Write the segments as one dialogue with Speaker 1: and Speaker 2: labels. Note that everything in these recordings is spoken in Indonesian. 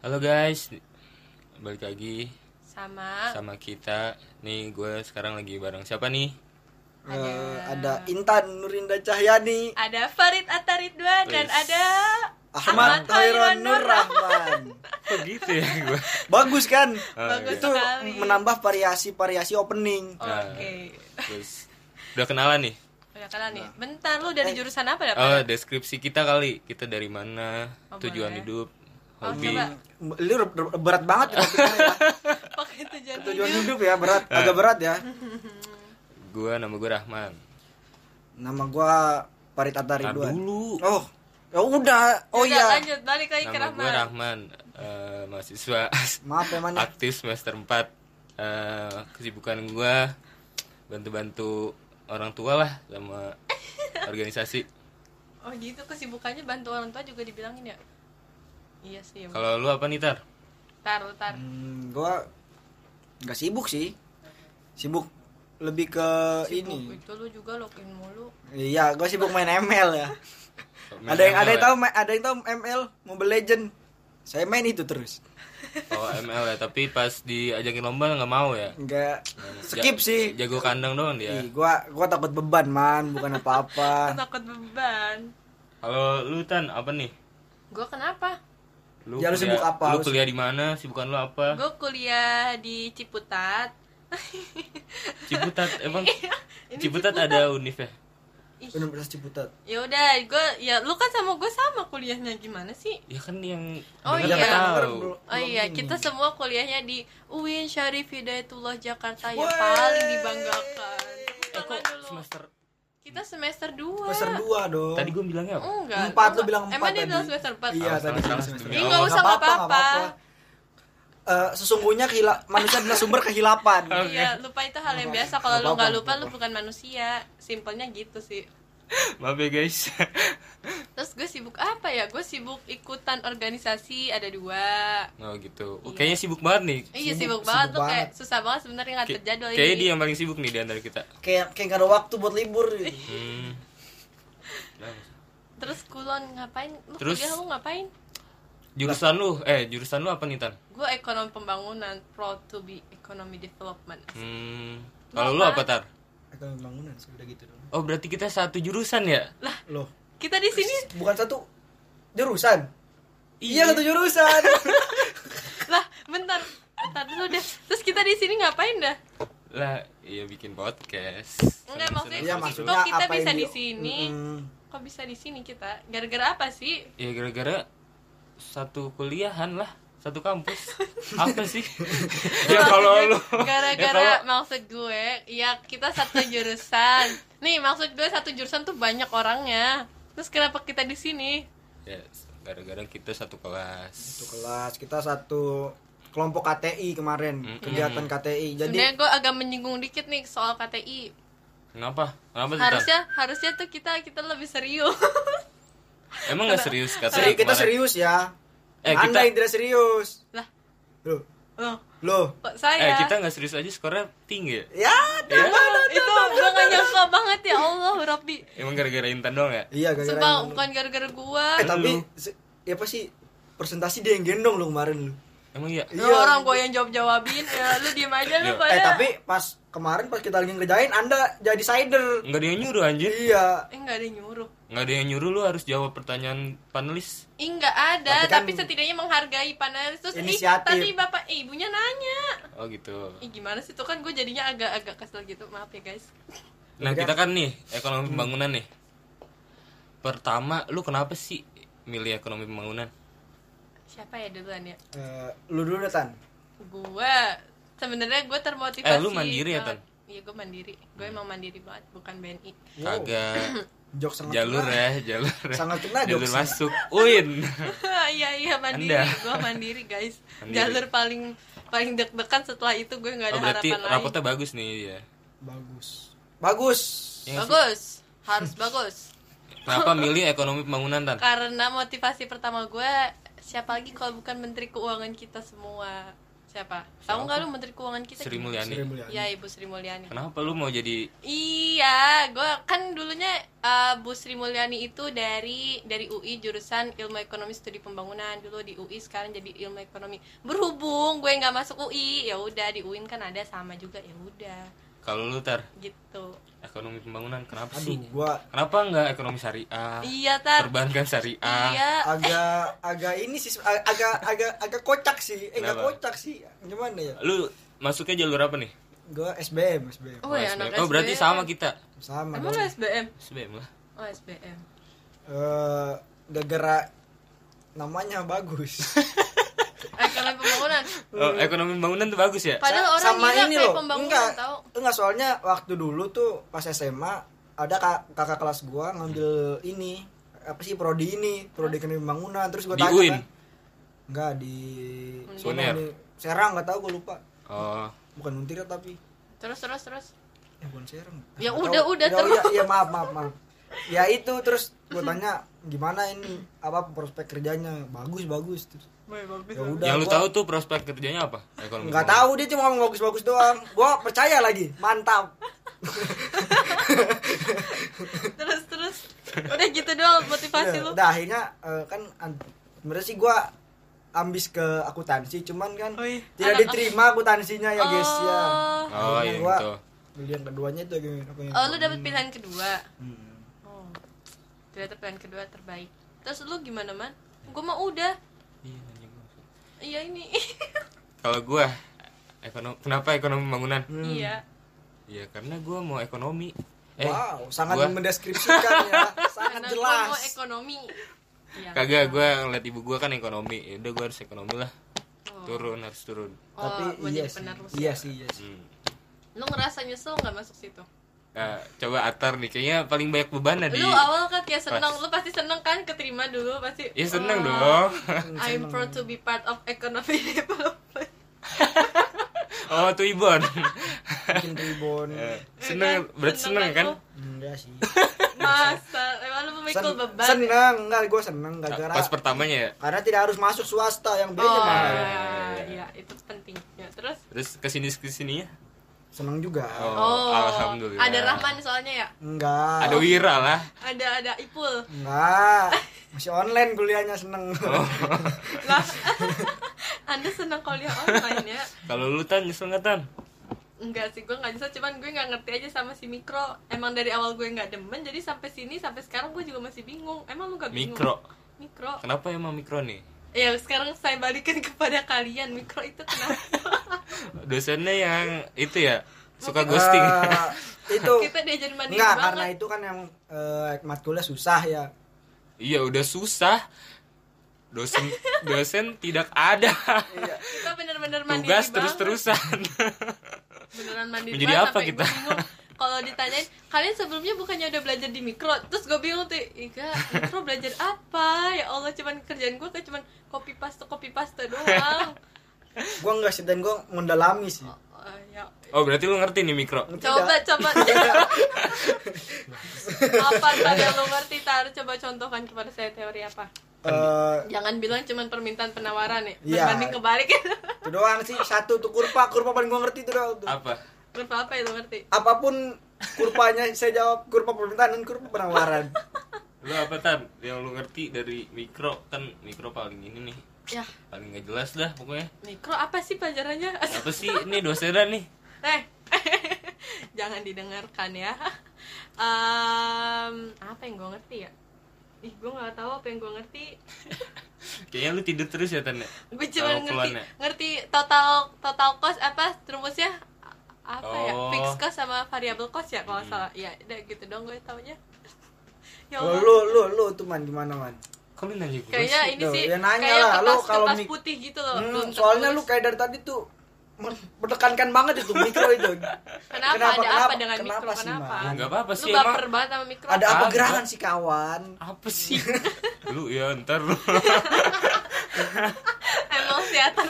Speaker 1: Halo guys, balik lagi
Speaker 2: sama
Speaker 1: sama kita. Nih gue sekarang lagi bareng siapa nih?
Speaker 2: Ada-
Speaker 3: Eh, ada Intan Nurinda Cahyani,
Speaker 2: ada Farid Ataridwan dan
Speaker 1: Wis.
Speaker 2: ada
Speaker 3: Ahmad Khairon Nur Rahman.
Speaker 1: Oh gitu ya gue.
Speaker 3: Bagus kan?
Speaker 1: Oh,
Speaker 2: Bagus
Speaker 1: iya.
Speaker 3: Itu
Speaker 2: sekali.
Speaker 3: menambah variasi-variasi opening.
Speaker 2: Oke.
Speaker 1: Nah. Terus udah kenalan nih.
Speaker 2: Udah kenalan nih. Bentar lu dari jurusan apa ya?
Speaker 1: Oh deskripsi kita kali. Kita dari mana? tujuan hidup,
Speaker 2: Oh,
Speaker 1: hobi.
Speaker 2: coba.
Speaker 3: Lu ber- ber- berat banget ya topiknya ya.
Speaker 2: Pakai tujuan hidup.
Speaker 3: Tujuan hidup ya berat, agak berat ya.
Speaker 1: Gue nama gue Rahman.
Speaker 3: Nama gua Farid Atari
Speaker 1: Ntar dulu.
Speaker 3: Oh, ya udah.
Speaker 2: Udah,
Speaker 3: Oh iya.
Speaker 2: lanjut balik lagi ke
Speaker 1: Nama gue
Speaker 2: Rahman.
Speaker 1: Rahman, eh, mahasiswa
Speaker 3: Maaf ya man.
Speaker 1: aktif semester 4 Eh, Kesibukan gue bantu-bantu orang tua lah sama organisasi.
Speaker 2: Oh gitu kesibukannya bantu orang tua juga dibilangin ya? Iya sih. Ya.
Speaker 1: Kalau lu apa nih Tar?
Speaker 2: Tar, lu, tar.
Speaker 3: Hmm, gua nggak sibuk sih. Sibuk lebih ke
Speaker 2: Sibuk
Speaker 3: ini.
Speaker 2: Itu lu juga login mulu.
Speaker 3: Iya, gua sibuk main ML ya.
Speaker 1: Main
Speaker 3: ada yang ada
Speaker 1: ML
Speaker 3: yang tahu ma- ada yang tahu ML Mobile Legend saya main itu terus
Speaker 1: ya? Oh ML ya, tapi pas diajakin lomba nggak mau ya.
Speaker 3: nggak
Speaker 1: Ja-
Speaker 3: skip sih Iya.
Speaker 1: Jago kandang doang dia.
Speaker 3: Ih, gua gua takut beban man bukan apa-apa
Speaker 2: Takut beban.
Speaker 1: Kalau lu Tan apa nih?
Speaker 2: Gue kenapa?
Speaker 1: Lu
Speaker 3: Ya, lu
Speaker 1: kuliah-
Speaker 3: sibuk apa?
Speaker 1: Lu
Speaker 3: Lu-
Speaker 1: kuliah di mana? Sibukan lu apa?
Speaker 2: Gue kuliah di Ciputat.
Speaker 1: Ciputat emang
Speaker 2: Iya, Ini
Speaker 1: Ciputat ada univ ya?
Speaker 2: Ih,
Speaker 3: Universitas Ciputat
Speaker 2: ya udah gue ya lu kan sama gue sama kuliahnya gimana sih
Speaker 1: Ya kan yang
Speaker 2: Oh,
Speaker 1: denger
Speaker 2: iya.
Speaker 1: nggak
Speaker 3: Denger
Speaker 1: tahu.
Speaker 3: belum-
Speaker 2: Oh iya,
Speaker 3: belum
Speaker 2: kita
Speaker 3: ini.
Speaker 2: semua kuliahnya di UIN Syarif Hidayatullah Jakarta yang
Speaker 3: Wey.
Speaker 2: paling dibanggakan.
Speaker 1: Eh, kok
Speaker 2: Tangan dulu.
Speaker 1: semester
Speaker 2: Kita semester 2.
Speaker 3: semester dua dong
Speaker 1: tadi gue bilangnya apa?
Speaker 2: Enggak.
Speaker 3: Empat, lu
Speaker 2: gua-
Speaker 3: bilang empat
Speaker 2: Emang dia
Speaker 3: tadi.
Speaker 2: bilang semester 4.
Speaker 3: iya
Speaker 1: Salah,
Speaker 3: tadi
Speaker 1: salah,
Speaker 3: bilang
Speaker 1: salah.
Speaker 3: semester
Speaker 1: Ih,
Speaker 3: dua.
Speaker 1: nggak
Speaker 2: usah, nggak apa-apa.
Speaker 3: Eh, sesungguhnya kehila- manusia adalah sumber kehilapan
Speaker 2: Iya, lupa itu hal yang biasa. Kalau
Speaker 3: Nggak
Speaker 2: lu
Speaker 3: apa-apa,
Speaker 2: nggak lupa,
Speaker 3: nggak
Speaker 2: lu bukan manusia. Simpelnya gitu sih.
Speaker 1: Maaf ya guys.
Speaker 2: Terus gue sibuk apa ya? Gue sibuk ikutan organisasi ada dua.
Speaker 1: oh gitu. Oh, kayaknya sibuk banget nih.
Speaker 2: Iya
Speaker 3: Sibuk-
Speaker 2: sibuk, banget
Speaker 3: sibuk
Speaker 2: tuh kayak
Speaker 3: banget.
Speaker 2: susah banget sebenarnya
Speaker 1: Kay-
Speaker 2: ngatur jadwal
Speaker 1: kayaknya dia
Speaker 2: ini.
Speaker 1: yang paling sibuk nih di antara kita.
Speaker 3: kayak kayak gak ada waktu buat libur
Speaker 1: Hmm. Nah,
Speaker 2: Terus kulon ngapain? Lu
Speaker 1: Terus-
Speaker 2: kuliah lu ngapain?
Speaker 1: Jurusan lu, eh jurusan lu apa nih Tan?
Speaker 2: Gue ekonom pembangunan, pro to be economy development.
Speaker 1: Hmm.
Speaker 2: Lu
Speaker 1: Kalau lu apa tar?
Speaker 3: ekonomi bangunan sudah gitu dong
Speaker 1: Oh berarti kita satu jurusan ya?
Speaker 3: loh
Speaker 2: Kita di sini
Speaker 3: bukan satu jurusan iya satu jurusan
Speaker 2: lah, bentar, bentar dulu deh. Terus kita di sini ngapain dah?
Speaker 1: Lah, iya bikin podcast. Seneng-seneng
Speaker 2: Enggak, maksudnya
Speaker 3: iya
Speaker 1: sama
Speaker 2: maksud-
Speaker 1: dulu.
Speaker 3: maksudnya
Speaker 2: Kok kita
Speaker 3: apa yang
Speaker 2: bisa di
Speaker 3: di-
Speaker 2: sini?
Speaker 3: Mm-mm.
Speaker 2: Kok bisa di sini kita? Gara-gara apa sih?
Speaker 1: Ya gara-gara satu kuliahan lah, satu kampus. apa sih?
Speaker 2: Iya.
Speaker 1: ya kalau lu
Speaker 2: Gara-gara maksud gue, ya kita satu jurusan. Nih, maksud gue satu jurusan tuh banyak orangnya. Terus kenapa kita di sini?
Speaker 1: ya gara-gara kita satu kelas.
Speaker 3: satu kelas kita satu kelompok KTI kemarin kegiatan KTI jadi
Speaker 2: Sebenarnya gue agak menyinggung dikit nih soal KTI.
Speaker 1: Kenapa? Kenapa sih? Tan?
Speaker 2: Harusnya harusnya tuh kita kita lebih serius.
Speaker 1: Emang nggak serius kata
Speaker 3: seri- eh, kita
Speaker 1: kemarin?
Speaker 3: serius ya
Speaker 1: Eh,
Speaker 3: anda
Speaker 1: kita-
Speaker 3: yang tidak serius
Speaker 2: lah,
Speaker 3: loh
Speaker 2: loh,
Speaker 3: loh
Speaker 2: kok
Speaker 1: Eh,
Speaker 2: saya?
Speaker 1: kita nggak serius aja skornya tinggi ya?
Speaker 3: ya
Speaker 1: Ya?
Speaker 2: itu gue gak nyangka banget ya Allah Robby
Speaker 1: Emang gara-gara Intan doang ya?
Speaker 3: iya
Speaker 2: Sumpah
Speaker 3: gara-gara
Speaker 2: bukan gara-gara gua
Speaker 3: eh, tapi
Speaker 1: Lu.
Speaker 3: se- ya apa sih presentasi dia yang gendong lo kemarin lu
Speaker 1: Emang iya?
Speaker 2: Lu orang gua yang jawab-jawabin ya Lu diem aja lu
Speaker 1: Iya.
Speaker 2: pada
Speaker 3: eh tapi pas kemarin pas kita lagi ngerjain anda jadi sider
Speaker 1: Nggak ada yang nyuruh anjir.
Speaker 3: iya
Speaker 2: Eh gak ada yang nyuruh
Speaker 1: Nggak ada yang nyuruh lu harus jawab pertanyaan panelis.
Speaker 2: Ih nggak ada,
Speaker 3: Tapi kan-
Speaker 2: tapi setidaknya menghargai panelis Terus ih
Speaker 3: Inisiatif.
Speaker 2: tadi bapak, eh, ibunya nanya
Speaker 1: Oh gitu.
Speaker 2: Ih gimana sih, tuh kan gue jadinya agak-agak kesel gitu Maaf ya guys
Speaker 1: Nah kita kan nih
Speaker 2: Hmm.
Speaker 1: ekonomi pembangunan nih. Pertama, lu kenapa sih milih ekonomi pembangunan?
Speaker 2: Siapa ya duluan ya?
Speaker 3: Eh, lu dulu deh, Tan
Speaker 2: Gua sebenarnya gue termotivasi
Speaker 1: Eh, lu mandiri ya, Hmm.
Speaker 2: banget.
Speaker 1: Tan?
Speaker 2: Iya gue mandiri, gue emang mandiri banget, bukan BNI
Speaker 3: Wow.
Speaker 1: Kagak
Speaker 3: jok sangat
Speaker 1: jalur
Speaker 3: kena.
Speaker 1: ya, jalur. ya.
Speaker 3: Sangat kena
Speaker 1: jalur
Speaker 3: jokesnya.
Speaker 1: masuk. Uin.
Speaker 2: iya iya mandiri,
Speaker 1: Anda.
Speaker 2: gue mandiri guys.
Speaker 1: Mandiri.
Speaker 2: Jalur paling paling deg-degan setelah itu gue nggak ada
Speaker 1: Oh, berarti
Speaker 2: harapan lain.
Speaker 1: rapotnya bagus nih ya.
Speaker 3: bagus bagus
Speaker 1: Iya nggak sih?
Speaker 2: Bagus, harus bagus.
Speaker 1: Kenapa milih ekonomi pembangunan tan?
Speaker 2: Karena motivasi pertama gue siapa lagi kalau bukan Menteri Keuangan kita semua siapa? Tahu nggak lu Menteri Keuangan kita?
Speaker 1: Sri
Speaker 2: gimana?
Speaker 1: Mulyani.
Speaker 3: Sri Mulyani.
Speaker 2: Iya Ibu Sri Mulyani.
Speaker 1: Kenapa lu mau jadi
Speaker 2: Ih Iya, gue kan dulunya eh, Bu Sri Mulyani itu dari dari UI jurusan Ilmu Ekonomi Studi Pembangunan dulu di UI sekarang jadi Ilmu Ekonomi. Berhubung gue nggak masuk UI, ya udah di UIN kan ada sama juga ya udah
Speaker 1: Kalau lu tar
Speaker 2: gitu.
Speaker 1: ekonomi pembangunan kenapa
Speaker 3: Aduh,
Speaker 1: sih?
Speaker 3: gua
Speaker 1: Kenapa nggak ekonomi syariah?
Speaker 2: Iya tar.
Speaker 1: Perbankan syariah.
Speaker 2: Iya.
Speaker 3: agak agak ini sih ag- agak agak agak kocak sih. Eh enggak
Speaker 1: Kenapa?
Speaker 3: kocak sih. Gimana ya?
Speaker 1: Lu masuknya jalur apa nih?
Speaker 3: Gua SBM, SBM.
Speaker 2: Oh, ya,
Speaker 1: SBM.
Speaker 2: anak
Speaker 1: oh berarti
Speaker 2: SBM.
Speaker 1: sama kita.
Speaker 3: Sama
Speaker 2: Emang
Speaker 3: dong.
Speaker 2: lo SBM?
Speaker 1: SBM lah.
Speaker 2: Oh SBM.
Speaker 3: Eh, gara-gara namanya bagus.
Speaker 2: Eh, Ekonomi pembangunan.
Speaker 1: Oh,
Speaker 2: Iya.
Speaker 1: ekonomi pembangunan tuh bagus ya?
Speaker 2: Padahal orang
Speaker 3: Sa-
Speaker 2: gila kayak
Speaker 3: loh,
Speaker 2: pembangunan
Speaker 3: enggak,
Speaker 2: tahu.
Speaker 3: enggak soalnya waktu dulu tuh pas SMA ada ka- kakak kelas gua ngambil ini apa sih prodi ini prodi ekonomi pembangunan terus gua
Speaker 1: Di
Speaker 3: tanya
Speaker 1: UIN?
Speaker 3: kan enggak di sono,
Speaker 1: Uner?
Speaker 3: di Serang nggak tahu gua lupa
Speaker 1: Oh,
Speaker 3: bukan Untira tapi
Speaker 2: Terus terus terus.
Speaker 3: ya bukan Serang
Speaker 2: Ya
Speaker 3: Nggak
Speaker 2: udah,
Speaker 3: tahu.
Speaker 2: udah,
Speaker 3: ya,
Speaker 2: terus.
Speaker 3: ya, ya, maaf maaf maaf ya itu terus gua tanya gimana ini apa prospek kerjanya bagus bagus terus ya udah
Speaker 1: yang lu
Speaker 3: gua-
Speaker 1: tahu tuh prospek kerjanya apa? Ekonomi.
Speaker 3: nggak
Speaker 1: pembangunan.
Speaker 3: tahu dia cuma ngomong bagus-bagus doang gua percaya lagi mantap
Speaker 2: terus terus. Udah gitu doang motivasi
Speaker 3: Iya,
Speaker 2: lu.
Speaker 3: Udah akhirnya eh, kan an- sebenarnya sih gua ambis ke akuntansi cuman kan
Speaker 2: Oh iya.
Speaker 3: tidak
Speaker 2: Anak-
Speaker 3: diterima akuntansinya ya guys ya.
Speaker 2: Oh.
Speaker 1: Oh,
Speaker 3: Akhirnya
Speaker 1: yang
Speaker 3: gua
Speaker 1: itu.
Speaker 3: Beli yang keduanya itu gini, apa yang
Speaker 2: Oh, lu
Speaker 3: kedua.
Speaker 2: dapet pilihan kedua.
Speaker 3: Hmm.
Speaker 2: Oh. Ternyata pilihan kedua terbaik. Terus lu gimana, Man? Gua mah udah.
Speaker 1: Iya, nanya gua.
Speaker 2: Iya ini.
Speaker 1: Kalau gua ekonomi kenapa ekonomi pembangunan?
Speaker 2: Iya.
Speaker 1: Ya karena gua mau ekonomi.
Speaker 3: wow, sangat
Speaker 1: Eh, gua-
Speaker 3: mendeskripsikan ya, sangat
Speaker 2: Karena
Speaker 3: jelas.
Speaker 2: Gua mau ekonomi. Iya.
Speaker 1: Kagak gua ngeliat ibu gua kan ekonomi. Ya udah gua harus ekonomi lah.
Speaker 2: Oh.
Speaker 1: Turun harus turun.
Speaker 2: Oh,
Speaker 3: Tapi
Speaker 2: mau
Speaker 3: iya
Speaker 2: jadi
Speaker 3: sih,
Speaker 2: penerus. ya?
Speaker 3: iya sih, iya sih.
Speaker 1: Hmm.
Speaker 2: Lu ngerasa nyesel nggak masuk situ?
Speaker 1: Nah, coba Atar nih kayaknya paling banyak beban di
Speaker 2: Lu awal kan kayak seneng, lu pasti seneng kan keterima dulu pasti.
Speaker 1: Iya seneng
Speaker 2: "Wah,
Speaker 1: dong.
Speaker 2: I'm proud to be part of economy development.
Speaker 1: oh tuh Ibon.
Speaker 3: Bikin ribbon.
Speaker 1: Hmm. Eh, seneng berarti seneng kan?
Speaker 2: aku.
Speaker 3: Enggak sih.
Speaker 2: Masa, emang lu memikul
Speaker 3: Sen-
Speaker 2: beban. ya?
Speaker 3: seneng, enggak gua seneng gara-gara
Speaker 1: Pas pertamanya ya.
Speaker 3: karena tidak harus masuk swasta yang
Speaker 2: Oh,
Speaker 3: beda mah.
Speaker 2: iya, itu pentingnya. Terus
Speaker 1: Terus kesini kesini ya.
Speaker 3: Seneng juga.
Speaker 1: Oh,
Speaker 2: Oh,
Speaker 1: alhamdulillah.
Speaker 2: Ada Rahman soalnya ya?
Speaker 3: Enggak.
Speaker 1: Ada Wira lah.
Speaker 2: Ada ada Ipul.
Speaker 3: Enggak, masih online kuliahnya seneng.
Speaker 1: Oh,
Speaker 2: Lah. Anda senang kuliah online ya?
Speaker 1: Kalau lu tan nyesel nggak tan?
Speaker 2: Enggak sih, gue nggak nyesel, cuman gue nggak ngerti aja sama si mikro. Emang dari awal gue nggak demen, jadi sampai sini sampai sekarang gue juga masih bingung. Emang lu nggak bingung?
Speaker 1: Mikro.
Speaker 2: Mikro.
Speaker 1: Kenapa emang mikro nih?
Speaker 2: Ya sekarang saya balikin kepada kalian, mikro itu kenapa?
Speaker 1: Dosennya yang itu ya suka ghosting.
Speaker 3: Eh, itu
Speaker 2: Kita diajarin mandiri
Speaker 3: enggak
Speaker 2: banget.
Speaker 3: karena itu kan yang eh, matkulnya susah ya.
Speaker 1: Iya udah susah. Dosen dosen tidak ada.
Speaker 2: Kita bener-bener mandiri
Speaker 1: Tugas
Speaker 2: banget.
Speaker 1: terus-terusan.
Speaker 2: beneran mandiri
Speaker 1: Menjadi
Speaker 2: banget
Speaker 1: apa
Speaker 2: sampai
Speaker 1: kita?
Speaker 2: gua bingung. kalau ditanyain kalian sebelumnya bukannya udah belajar di mikro terus gue bingung tuh Iga mikro belajar apa ya Allah cuman kerjaan gue kayak cuman copy paste copy paste doang
Speaker 3: Gua enggak sih dan gua mendalami sih.
Speaker 2: Oh, ya.
Speaker 1: oh, berarti lu ngerti nih mikro.
Speaker 2: coba coba apa tar yang lo ngerti tar coba contohkan kepada saya teori apa
Speaker 3: Eh,
Speaker 2: jangan bilang cuman permintaan penawaran ya
Speaker 3: Iya.
Speaker 2: berbanding kebalik
Speaker 3: itu doang sih satu tuh kurva, kurva paling gua ngerti itu doang tuh.
Speaker 1: Apa?
Speaker 2: berapa apa yang lo ngerti
Speaker 3: Apapun kurvanya saya jawab kurva permintaan dan kurva penawaran.
Speaker 1: Lu apa tan? Yang lu ngerti dari mikro kan mikro paling ini nih.
Speaker 2: ya
Speaker 1: Paling nggak jelas dah pokoknya.
Speaker 2: mikro apa sih pelajarannya
Speaker 1: Apa sih ini dosennya nih?
Speaker 2: Eh, jangan didengarkan ya. Em, apa yang gue ngerti ya? Ih, gue nggak tahu apa yang gue ngerti.
Speaker 1: Kayaknya lu tidur terus ya tan ya?
Speaker 2: Gue cuma
Speaker 1: Tahu
Speaker 2: ngerti,
Speaker 1: keluarnya.
Speaker 2: ngerti total total cost apa rumusnya A- apa ya?
Speaker 1: Oh.
Speaker 2: Fixed cost sama variable cost ya kalau nggak salah. Ya, udah gitu dong gue taunya. ya
Speaker 3: Kalau
Speaker 2: Allah.
Speaker 3: lu lu lu tuh man gimana man?
Speaker 1: Kok lu nanya gue?
Speaker 2: Kayaknya ini
Speaker 3: Tuh,
Speaker 2: sih
Speaker 3: ya nanya
Speaker 2: kayak
Speaker 3: lah, lu
Speaker 2: kertas,
Speaker 3: kalau
Speaker 2: kertas
Speaker 3: mik-
Speaker 2: putih gitu loh.
Speaker 3: Hmm,
Speaker 2: belum
Speaker 3: soalnya lu
Speaker 2: tertulis.
Speaker 3: kayak dari tadi tuh menekankan banget itu mikro itu.
Speaker 2: kenapa, ada apa dengan mikro?
Speaker 3: sih,
Speaker 2: kenapa?
Speaker 3: Man?
Speaker 1: Nggak apa-apa sih,
Speaker 2: Lu baper
Speaker 1: emang.
Speaker 2: banget sama mikro.
Speaker 3: Ada apa
Speaker 1: Kagak.
Speaker 3: gerakan sih kawan?
Speaker 1: Apa sih? lu ya ntar lu.
Speaker 2: Emang siatan.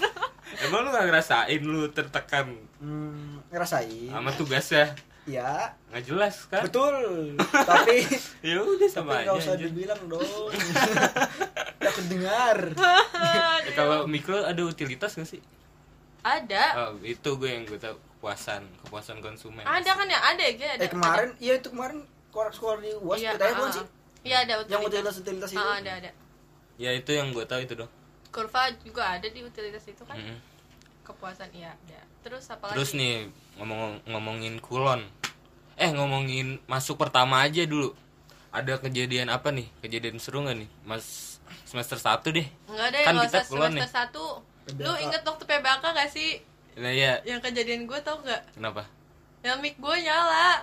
Speaker 1: Emang lu gak ngerasain lu tertekan
Speaker 3: Hmm, ngerasain.
Speaker 1: Iya. sama tugasnya?
Speaker 3: Ya,
Speaker 1: Nggak jelas kan?
Speaker 3: betul. tapi
Speaker 1: Ya udah
Speaker 3: tapi
Speaker 1: sama
Speaker 3: nggak
Speaker 1: aja.
Speaker 3: usah
Speaker 1: anjir.
Speaker 3: dibilang dong. Takut dengar.
Speaker 1: Ya, Eh, Kalau mikro ada utilitas gak sih?
Speaker 2: Ada.
Speaker 1: Oh, itu gue yang gue tahu kepuasan, kepuasan konsumen.
Speaker 2: Ada kan ya? Ada ya? Ada.
Speaker 3: eh kemarin iya itu kemarin skor skor di UAS
Speaker 2: Iya,
Speaker 3: kita ya
Speaker 2: ah,
Speaker 3: bukan
Speaker 2: ah.
Speaker 3: sih
Speaker 2: Iya, ada
Speaker 3: yang
Speaker 2: utilitas.
Speaker 3: utilitas utilitas itu
Speaker 2: Ah, ada ada.
Speaker 1: Ya itu yang gue tahu itu dong.
Speaker 2: Kurva juga ada di utilitas itu kan.
Speaker 1: Mm-mm.
Speaker 2: Kepuasan iya ada. Terus apa
Speaker 1: Hmm. Terus
Speaker 2: lagi?
Speaker 1: nih ngomong ngomongin kulon. Eh ngomongin masuk pertama aja dulu. Ada kejadian apa nih? Kejadian seru gak nih? Mas semester 1 deh.
Speaker 2: Enggak ada
Speaker 1: Kan
Speaker 2: yang
Speaker 1: kita
Speaker 2: usah
Speaker 1: kulon
Speaker 2: semester
Speaker 1: nih.
Speaker 2: satu. Lu
Speaker 3: PBK.
Speaker 2: inget waktu PBK gak sih?
Speaker 1: Nah ya,
Speaker 2: Yang kejadian gue tau gak?
Speaker 1: kenapa?
Speaker 2: Yang mic gue nyala.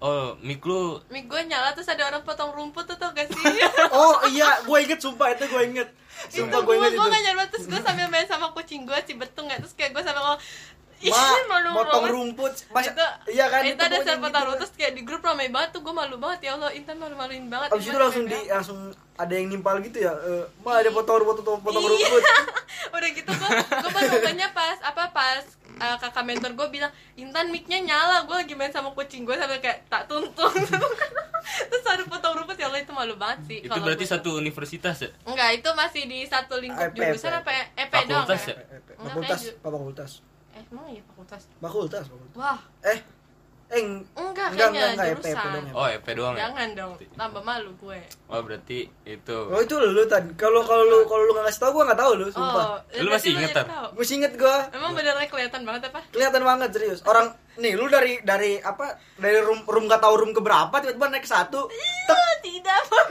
Speaker 1: Oh, mic lu
Speaker 2: Mic gue nyala terus ada orang potong rumput tuh tau gak sih?
Speaker 3: oh iya gue inget sumpah itu gue inget
Speaker 2: itu
Speaker 3: sumpah gue
Speaker 2: gue
Speaker 3: inget
Speaker 2: gue
Speaker 3: itu
Speaker 2: gak nyala terus gue sambil main sama kucing gue si betung gak terus kayak gue sambil ngomong "Ih,
Speaker 3: Wah,
Speaker 2: malu
Speaker 3: potong
Speaker 2: banget."
Speaker 3: rumput Mas,
Speaker 2: itu,
Speaker 3: iya kan
Speaker 2: itu, ada
Speaker 3: pokoknya
Speaker 2: saya potong
Speaker 3: gitu.
Speaker 2: rumput terus kayak di grup ramai banget tuh gue malu banget ya Allah Intan malu maluin banget ya kan.
Speaker 3: abis
Speaker 2: Ini
Speaker 3: itu
Speaker 2: mah
Speaker 3: langsung di ya.
Speaker 2: PBL.
Speaker 3: langsung ada yang nimpal gitu ya Eh, Ma ada potong rumput potong potong
Speaker 2: Iya.
Speaker 3: rumput
Speaker 2: udah gitu gue gue baru bukannya pas apa pas eh, kakak mentor gue bilang Intan micnya nyala gue lagi main sama kucing gue sambil kayak tak tuntung terus ada potong rumput ya Allah itu malu banget sih
Speaker 1: itu
Speaker 2: kalau
Speaker 1: berarti
Speaker 2: gua. Iya.
Speaker 1: satu universitas ya?
Speaker 2: Enggak, itu masih di satu lingkup
Speaker 3: EP,
Speaker 2: jurusan
Speaker 3: EP.
Speaker 2: apa ya? EP doang
Speaker 1: Fakultas
Speaker 2: ya?
Speaker 1: ya?
Speaker 3: eh, fakultas fakultas
Speaker 2: Eh, emang iya fakultas?
Speaker 3: fakultas fakultas
Speaker 2: Wah,
Speaker 3: eh eh eng-
Speaker 2: enggak
Speaker 3: Enggak,
Speaker 2: kayaknya
Speaker 3: enggak, enggak,
Speaker 2: jurusan
Speaker 3: EP doang ya.
Speaker 1: Oh, EP doang ya?
Speaker 2: Jangan dong, tambah malu gue
Speaker 1: Oh, berarti itu.
Speaker 3: oh itu lu tadi kalau kalau lu kalau lu nggak ngasih tau gue nggak tahu lu sumpah
Speaker 2: Oh,
Speaker 1: Lu
Speaker 2: berarti
Speaker 1: masih inget,
Speaker 2: jadi
Speaker 1: Tar?
Speaker 2: tahu.
Speaker 3: Mesti inget gue
Speaker 2: Emang beneran kelihatan banget apa?
Speaker 3: kelihatan banget serius orang nih lu dari dari apa dari room room gak tahu room keberapa tiba-tiba naik ke satu tek,
Speaker 2: Oh, tidak, Bang.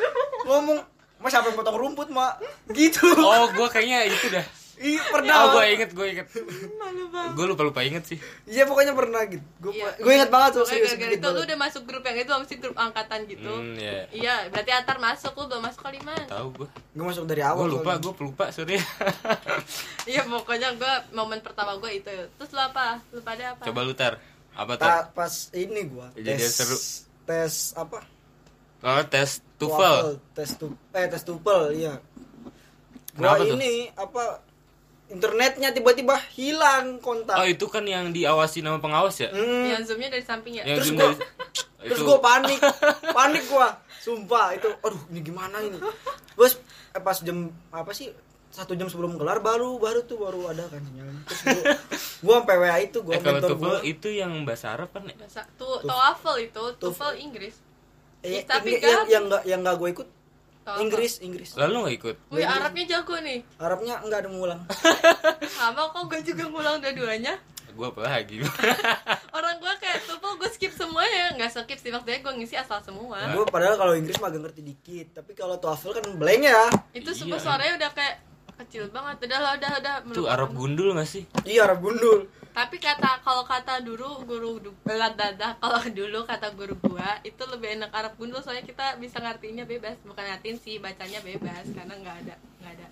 Speaker 3: ngomong mas siapa yang potong rumput mak gitu
Speaker 1: Oh, gue kayaknya itu dah.
Speaker 3: iya
Speaker 1: Oh,
Speaker 3: pernah
Speaker 1: gue inget, gue inget.
Speaker 2: Malu banget.
Speaker 1: Gue lupa lupa inget sih.
Speaker 3: iya pokoknya pernah gitu gue
Speaker 2: Iya.
Speaker 3: gue inget banget tuh
Speaker 2: Pokoknya
Speaker 3: serius gitu.
Speaker 2: gara-gara
Speaker 3: inget
Speaker 2: itu lu
Speaker 3: banget.
Speaker 2: udah masuk grup yang itu, mesti grup angkatan gitu.
Speaker 1: Hmm, ya.
Speaker 2: Iya, berarti Atar masuk, lu belum masuk kaliman.
Speaker 1: Tahu gue.
Speaker 3: gue masuk dari
Speaker 1: Gue
Speaker 3: awal
Speaker 1: lupa,
Speaker 3: soalnya.
Speaker 1: gue pelupa, sorry.
Speaker 2: Iya, pokoknya gue momen pertama gue itu. Terus lu apa? Lu pada apa?
Speaker 1: Coba lu tar. Apa tar?
Speaker 3: Ta- pas ini gue
Speaker 1: Kejadian
Speaker 3: tes
Speaker 1: seru.
Speaker 3: tes apa
Speaker 1: Oh, tes
Speaker 3: Waffle,
Speaker 1: TOEFL.
Speaker 3: tes tu eh tes tupel iya gua
Speaker 1: Kenapa tuh?
Speaker 3: ini apa internetnya tiba-tiba
Speaker 1: Oh,
Speaker 3: hilang kontak
Speaker 1: itu kan yang diawasi nama pengawas ya?
Speaker 3: Hmm.
Speaker 2: Yang zoomnya dari samping ya?
Speaker 1: Yang
Speaker 3: Terus
Speaker 1: zoom
Speaker 3: gua-
Speaker 1: dari-
Speaker 3: terus
Speaker 1: itu.
Speaker 3: gue panik panik gue sumpah itu aduh ini gimana ini terus eh, pas jam apa sih satu jam sebelum kelar baru baru tuh baru ada kan sinyalnya terus gue gue sampai wa itu gue
Speaker 1: eh, kalau
Speaker 3: mentor
Speaker 1: TOEFL
Speaker 3: gue
Speaker 1: itu yang bahasa Arab kan? ya?
Speaker 2: Bahasa tu, TOEFL itu, TOEFL Inggris.
Speaker 3: eh,
Speaker 2: tapi
Speaker 3: Inggris- yang
Speaker 2: kan-
Speaker 3: yang nggak yang nggak gue ikut
Speaker 2: TOEFL.
Speaker 3: Inggris Inggris
Speaker 1: Lalu nggak ikut?
Speaker 2: Wih, Arabnya jago nih.
Speaker 3: Arabnya nggak ada ngulang
Speaker 2: Sama kok gue juga ngulang dua-duanya.
Speaker 1: Gue apa lagi?
Speaker 2: Orang gue kayak tumpul gue skip semuanya, nggak skip sih maksudnya gue ngisi asal semua.
Speaker 3: gue padahal kalau Inggris mah agak ngerti dikit tapi kalau TOEFL kan blank ya
Speaker 2: Itu
Speaker 1: Iya.
Speaker 2: semua suaranya udah kayak kecil banget. Udah lah, udah udah.
Speaker 1: itu
Speaker 2: melupakan.
Speaker 1: Arab gundul nggak sih?
Speaker 3: Iya Arab gundul.
Speaker 2: Tapi kata kalau kata dulu guru du- belat dadah kalau dulu kata guru gua itu lebih enak Arab gundul soalnya kita bisa ngartinya bebas, bukan ngartiin sih bacanya bebas karena nggak ada nggak ada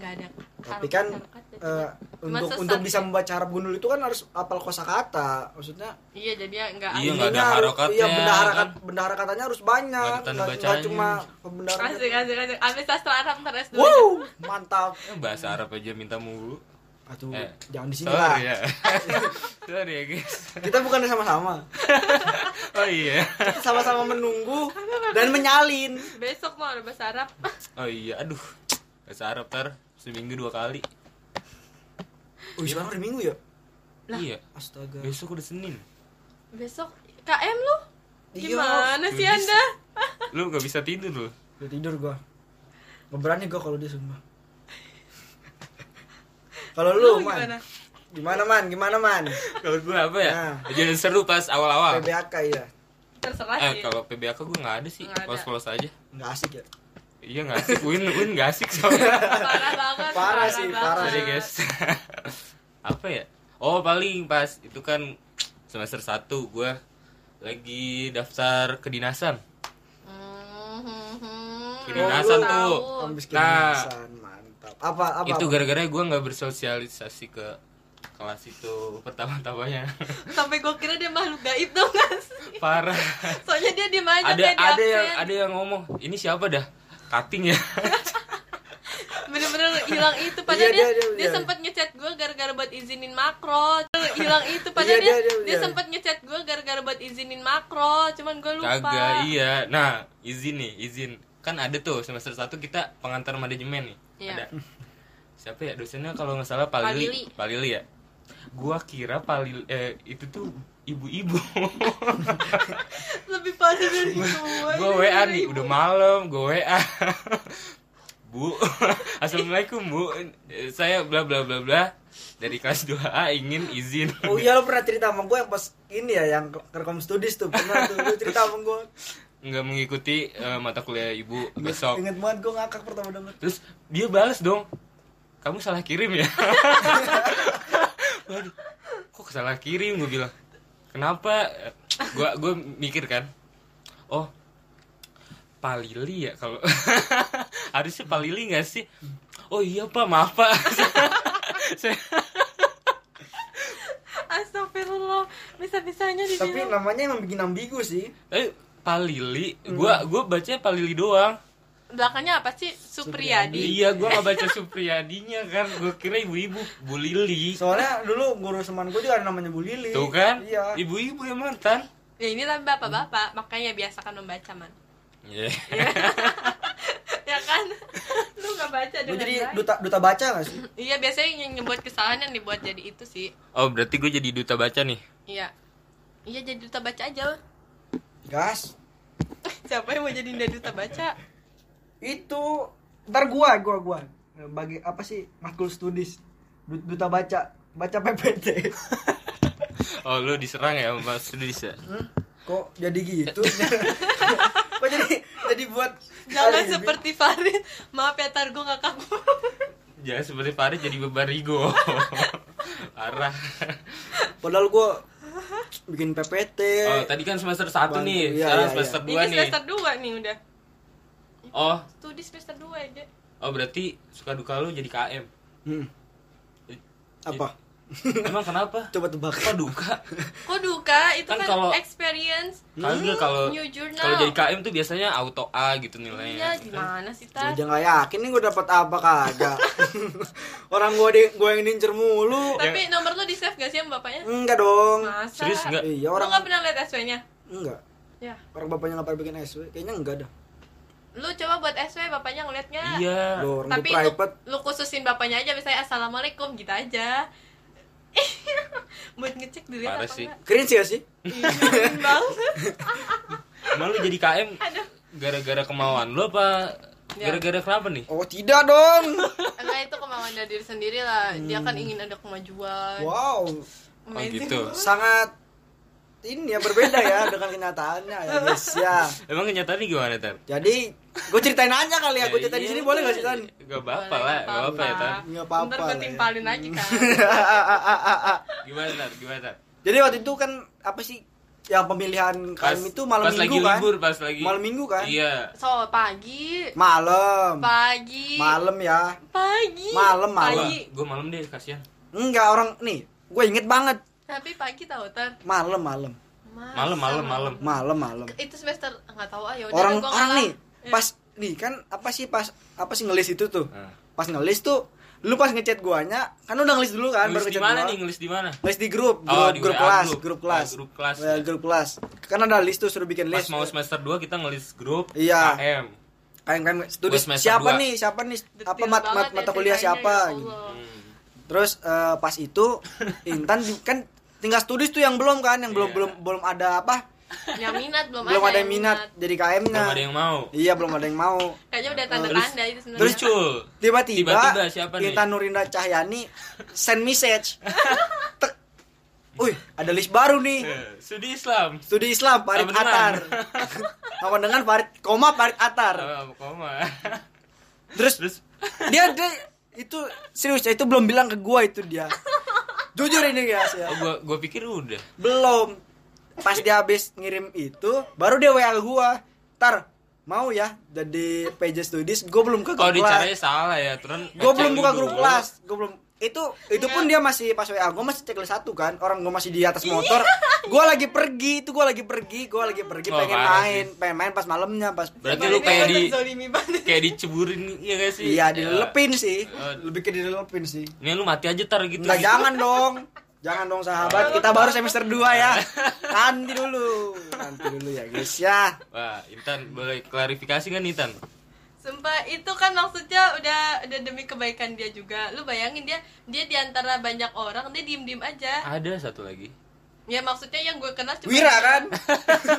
Speaker 2: nggak ada.
Speaker 3: Tapi kan
Speaker 2: harokat- harokat.
Speaker 3: eh,
Speaker 2: Cuma
Speaker 3: untuk
Speaker 2: sesat
Speaker 3: untuk
Speaker 2: gitu.
Speaker 3: bisa membaca Arab gundul itu kan harus apal kosakata. Maksudnya
Speaker 2: iya jadinya nggak
Speaker 1: Iya, nggak ada
Speaker 3: ininya harus-
Speaker 1: harokatnya,
Speaker 3: Iya benda
Speaker 1: kan?
Speaker 3: harakat benda harakatnya harus banyak.
Speaker 1: Nggak ada tanda
Speaker 3: Nggak- nggak
Speaker 1: bacanya.
Speaker 3: cuma benda harakat.
Speaker 2: Asik, asik, asik. Ambil sastra Arab terus dulu.
Speaker 3: Wow, mantap.
Speaker 1: Eh, bahasa Arab aja minta mulu.
Speaker 3: Aduh,
Speaker 1: Eh,
Speaker 3: jangan di sini lah.
Speaker 1: Sorry ya. sorry ya guys.
Speaker 3: Kita bukan sama-sama.
Speaker 1: Oh iya.
Speaker 3: Kita sama-sama menunggu dan menyalin.
Speaker 2: Besok mau ada bahasa Arab.
Speaker 1: Oh iya. Aduh. Bahasa Arab tar seminggu dua kali.
Speaker 3: Oh, sekarang hari Minggu ya?
Speaker 1: Iya.
Speaker 3: Astaga.
Speaker 1: Besok udah Senin.
Speaker 2: Besok KM lu?
Speaker 3: Iya.
Speaker 2: Gimana sih
Speaker 1: Bisa.
Speaker 2: Anda?
Speaker 1: Lu nggak bisa tidur lu.
Speaker 3: Udah tidur gua. Gak berani gua kalau dia sumpah. Kalau lu, man.
Speaker 2: gimana?
Speaker 3: Gimana, man? Gimana, man?
Speaker 1: Kalau gua apa ya?
Speaker 3: Nah.
Speaker 1: Kejadian seru pas awal-awal.
Speaker 3: PBAK ya.
Speaker 2: Terserah
Speaker 1: Eh
Speaker 2: sih.
Speaker 1: kalau PBAK gua nggak ada sih.
Speaker 2: Nggak ada.
Speaker 1: Close-close aja.
Speaker 3: Nggak asik ya?
Speaker 1: Iya nggak asik. Win win nggak asik soalnya.
Speaker 2: Parah banget.
Speaker 3: Parah sih,
Speaker 2: banget.
Speaker 3: parah.
Speaker 1: Sorry guys. Apa ya? Oh, paling pas itu kan semester 1 gua lagi daftar kedinasan.
Speaker 2: Mhm.
Speaker 1: Kedinasan
Speaker 2: Lu
Speaker 1: tuh.
Speaker 2: tahu.
Speaker 3: Ambis
Speaker 1: Nah.
Speaker 3: kedinasan, mantap. Apa apa?
Speaker 1: itu
Speaker 3: apa?
Speaker 1: gara-gara gua nggak bersosialisasi ke kelas itu pertama-tamanya.
Speaker 2: Sampai gue kira dia makhluk gaib dong guys.
Speaker 1: Parah.
Speaker 2: Soalnya dia diem aja
Speaker 1: Ada
Speaker 2: kayak di
Speaker 1: ada yang
Speaker 2: absen.
Speaker 1: ada yang ngomong, "Ini siapa dah?" Cutting ya.
Speaker 2: Bener-bener hilang itu Padahal
Speaker 3: Iya,
Speaker 2: dia,
Speaker 3: dia-
Speaker 2: dia,
Speaker 3: dia- iya.
Speaker 2: sempat ngechat gue gara-gara buat izinin makro Hilang itu Padahal
Speaker 3: Iya,
Speaker 2: dia,
Speaker 3: dia-
Speaker 2: dia,
Speaker 3: dia- iya.
Speaker 2: sempat ngechat gue gara-gara buat izinin makro Cuman gue lupa
Speaker 1: Kagak iya. Nah, izin nih, izin. Kan ada tuh semester 1 kita pengantar manajemen nih.
Speaker 2: Iya.
Speaker 1: Ada. Siapa ya dosennya kalau nggak salah Palili.
Speaker 2: Palili.
Speaker 1: Palili ya. Gua kira paling eh, itu tuh ibu-ibu.
Speaker 2: lebih parah dari gue
Speaker 1: gua WA nih, udah malam, gua WA. Bu, Assalamualaikum Bu, Eh, saya bla bla bla bla dari kelas 2A ingin izin.
Speaker 3: Oh iya lo pernah cerita sama gue yang pas ini ya yang ke- rekom studies tuh pernah tuh lo cerita sama gue.
Speaker 1: nggak mengikuti eh, mata kuliah ibu besok.
Speaker 3: Ingat banget gue ngakak pertama denger.
Speaker 1: Terus dia balas dong, kamu salah kirim ya. Waduh, kok salah kirim gue bilang. Kenapa? Gua gue mikir kan, oh Palili ya kalau harusnya Palili nggak sih? Oh iya pak, maaf pak. Saya-
Speaker 2: Astagfirullah Bisa-bisanya di
Speaker 3: Tapi namanya emang bikin ambigu sih.
Speaker 1: Eh Palili, gua gua bacanya Palili doang.
Speaker 2: Belakangnya apa sih? Supriyadi
Speaker 1: Iya, gua nggak baca Supriyadinya kan, gue kira ibu-ibu Bu Lili.
Speaker 3: Soalnya dulu guru seman gue juga ada namanya Bu Lili.
Speaker 1: Tuh kan?
Speaker 3: Iya.
Speaker 1: Ibu-ibu yang mantan.
Speaker 2: Ya ini lah bapak-bapak Makanya biasakan membaca man
Speaker 1: Iya.
Speaker 2: Ya kan? Lu gak baca
Speaker 3: Lu
Speaker 2: dengan
Speaker 3: jadi
Speaker 2: baik.
Speaker 3: duta duta baca gak sih?
Speaker 2: Iya biasanya yang ngebuat kesalahan yang dibuat jadi itu sih
Speaker 1: Oh, berarti gue jadi duta baca nih.
Speaker 2: Iya Iya jadi duta baca aja lah
Speaker 3: Gas.
Speaker 2: Siapa yang mau jadi nda duta baca?
Speaker 3: Itu ntar gua gua gua bagi apa sih matkul studies Du- duta baca baca PPT
Speaker 1: Oh, lu diserang ya sama Sudis ya?
Speaker 3: kok jadi gitu kok jadi jadi buat
Speaker 2: Jangan
Speaker 3: alibi?
Speaker 2: seperti Farid Maaf ya Tar, gue kakak
Speaker 1: Jangan seperti Farid jadi bebarigo. Parah.
Speaker 3: padahal gua bikin PPT
Speaker 1: Oh, tadi kan semester 1
Speaker 3: Bang,
Speaker 1: nih,
Speaker 3: iya,
Speaker 1: sekarang
Speaker 3: iya,
Speaker 1: semester 2
Speaker 2: Ini
Speaker 1: nih.
Speaker 2: semester 2 nih udah
Speaker 1: Oh,
Speaker 2: Studi semester 2 aja
Speaker 1: oh berarti suka duka lu jadi KM.
Speaker 3: Hmm. apa
Speaker 1: Emang kenapa?
Speaker 3: coba tebak
Speaker 1: Kok duka?
Speaker 2: Kok duka? Itu
Speaker 1: Kan
Speaker 2: kan,
Speaker 1: kalau-
Speaker 2: experience
Speaker 1: Kagak kalau
Speaker 2: New journal.
Speaker 1: kalau jadi KM tuh biasanya auto A gitu
Speaker 2: Iya
Speaker 1: nilainya.
Speaker 2: gimana sih Tar?
Speaker 3: Gua aja nggak yakin nih gua dapat apa kagak orang gua di gua yang nincer mulu
Speaker 2: Tapi nomor lu di save gak sih sama bapaknya?
Speaker 3: enggak dong
Speaker 2: Masa?
Speaker 1: Serius nggak?
Speaker 3: iya
Speaker 2: Lu
Speaker 3: orang
Speaker 2: gak pernah liat SW-nya?
Speaker 3: enggak
Speaker 2: Ya
Speaker 3: orang bapaknya nggak pernah bikin SW kayaknya enggak dah
Speaker 2: Lu coba buat SW bapaknya ngeliat gak?
Speaker 1: Iya.
Speaker 3: Loh, orang
Speaker 2: Tapi
Speaker 3: gua
Speaker 2: lu,
Speaker 3: private
Speaker 2: lu khususin bapaknya aja misalnya Assalamualaikum gitu aja Buat ngecek dilihat
Speaker 1: Parah
Speaker 2: apa
Speaker 1: sih.
Speaker 2: enggak
Speaker 3: keren sih ya sih
Speaker 2: Iya, keren banget
Speaker 1: Emang lu jadi KM
Speaker 2: Aduh
Speaker 1: gara-gara kemauan lu apa
Speaker 2: Ya.
Speaker 1: gara-gara kenapa nih?
Speaker 3: oh tidak dong
Speaker 2: Enggak itu kemauan dari diri sendiri lah Dia kan
Speaker 3: Hmm.
Speaker 2: ingin ada kemajuan
Speaker 3: wow
Speaker 1: Oh
Speaker 2: Amazing.
Speaker 1: gitu.
Speaker 3: sangat ini ya berbeda ya dengan kenyataannya ya guys ya
Speaker 1: Emang kenyataannya gimana, Tan?
Speaker 3: jadi gue ceritain aja kali ya gue ceritain di
Speaker 1: iya.
Speaker 3: sini boleh nggak sih tan
Speaker 1: Gak apa-apa lah, gak apa-apa ya, Tan.
Speaker 3: Nggak apa-apa
Speaker 2: Ntar gue
Speaker 3: lah ya.
Speaker 2: timpalin lagi kan
Speaker 1: Gimana, Tan? Gimana, Tan?
Speaker 3: jadi waktu itu kan apa sih yang pemilihan KM Kan itu malam
Speaker 1: pas
Speaker 3: minggu
Speaker 1: lagi
Speaker 3: kan
Speaker 1: libur, pas lagi
Speaker 3: malam minggu kan
Speaker 1: Iya.
Speaker 2: So, pagi
Speaker 3: malam
Speaker 2: Pagi
Speaker 3: malam ya
Speaker 2: Pagi
Speaker 3: Malam, malam.
Speaker 2: Pagi
Speaker 1: Gue malam deh, kasihan.
Speaker 3: enggak orang nih gue inget banget
Speaker 2: Tapi pagi tau Tar
Speaker 3: malam malam
Speaker 2: Masa
Speaker 1: Malam, malam, malam.
Speaker 3: malam malam
Speaker 2: Itu semester Enggak tahu ah yaudah
Speaker 3: orang
Speaker 2: gua Iya.
Speaker 3: orang
Speaker 2: ngalah.
Speaker 3: nih pas nih kan apa sih pas apa sih ngelis itu tuh
Speaker 1: Nah.
Speaker 3: pas ngelis tuh lu pas ngechat guanya kan udah ngelis dulu kan
Speaker 1: Ngelis di
Speaker 3: ngechat
Speaker 1: mana
Speaker 3: gua.
Speaker 1: nih? Ngelis di mana?
Speaker 3: Ngelis di grup
Speaker 1: Oh,
Speaker 3: grup,
Speaker 1: di
Speaker 3: grup
Speaker 1: WA
Speaker 3: kelas
Speaker 1: grup.
Speaker 3: grup kelas
Speaker 1: Ah, grup kelas.
Speaker 3: Ya, grup kelas kan ada list tuh suruh bikin
Speaker 1: Pas
Speaker 3: list
Speaker 1: mau semester 2 kita ngelis grup
Speaker 3: Iya.
Speaker 1: KM.
Speaker 3: kayak kayak
Speaker 1: Buat
Speaker 3: studies
Speaker 1: semester
Speaker 3: siapa
Speaker 1: dua.
Speaker 3: nih siapa nih
Speaker 2: Detail
Speaker 3: apa mat,
Speaker 2: banget
Speaker 3: mat-
Speaker 2: ya
Speaker 3: mata kuliah
Speaker 2: ceritanya,
Speaker 3: siapa
Speaker 2: ya
Speaker 3: gitu.
Speaker 2: Allah.
Speaker 1: Hmm.
Speaker 3: terus eh, pas itu Intan ju- kan tinggal studies tuh yang belum kan yang belum
Speaker 1: Iya.
Speaker 3: belum belum ada apa
Speaker 2: Yang minat belum,
Speaker 3: belum ada yang minat jadi KM
Speaker 1: Belum
Speaker 3: nya
Speaker 1: ada yang mau.
Speaker 3: iya belum ada yang mau
Speaker 2: Kayaknya udah tanda-tanda itu sebenarnya.
Speaker 1: Nah, Terus cul.
Speaker 3: tiba-tiba
Speaker 1: Tiba-tiba siapa nih?
Speaker 3: Intan Nurinda Cahyani send message Tek. Uy, ada list baru nih.
Speaker 1: Eh, Studi Islam.
Speaker 3: Studi Islam Farid
Speaker 1: Sama dengan.
Speaker 3: Atar. Sama dengan Farid koma Farid Atar.
Speaker 1: Sama koma.
Speaker 3: Terus
Speaker 1: Ah. Terus
Speaker 3: dia dia itu serius ya, itu belum bilang ke gua itu dia. Jujur ini guys ya.
Speaker 1: oh, gua gua pikir udah.
Speaker 3: Belum. Pas dia habis ngirim itu baru dia WA gua. Tar, mau ya jadi PJ Studies, gua belum ke
Speaker 1: Oh,
Speaker 3: grup kelas.
Speaker 1: dicaranya salah ya, Turan.
Speaker 3: gue
Speaker 1: baca
Speaker 3: belum buka
Speaker 1: dulu.
Speaker 3: grup kelas gue belum itu itu pun dia masih pas wa gue masih checklist satu kan orang gue masih di atas
Speaker 1: Iya.
Speaker 3: motor gue lagi pergi itu gue lagi pergi gue lagi pergi
Speaker 1: Oh,
Speaker 3: pengen
Speaker 1: parah
Speaker 3: main pengen main pas malamnya pas
Speaker 1: Berarti lu kayak di
Speaker 2: Zolimi banget.
Speaker 1: kayak diceburin ya guys sih?
Speaker 3: iya dilelepin sih
Speaker 1: Eh.
Speaker 3: lebih ke dilelepin sih
Speaker 1: Nih lu mati aja tar gitu.
Speaker 3: nggak jangan dong jangan dong sahabat kita baru semester 2 ya nanti dulu nanti dulu ya guys ya
Speaker 1: Wah, Intan boleh klarifikasi kan Intan?
Speaker 2: Sumpah itu kan maksudnya udah udah demi kebaikan dia juga. Lu bayangin dia dia diantara banyak orang dia diem diem aja.
Speaker 1: Ada satu lagi.
Speaker 2: Ya maksudnya yang gue kenal cuma
Speaker 3: Wira kan?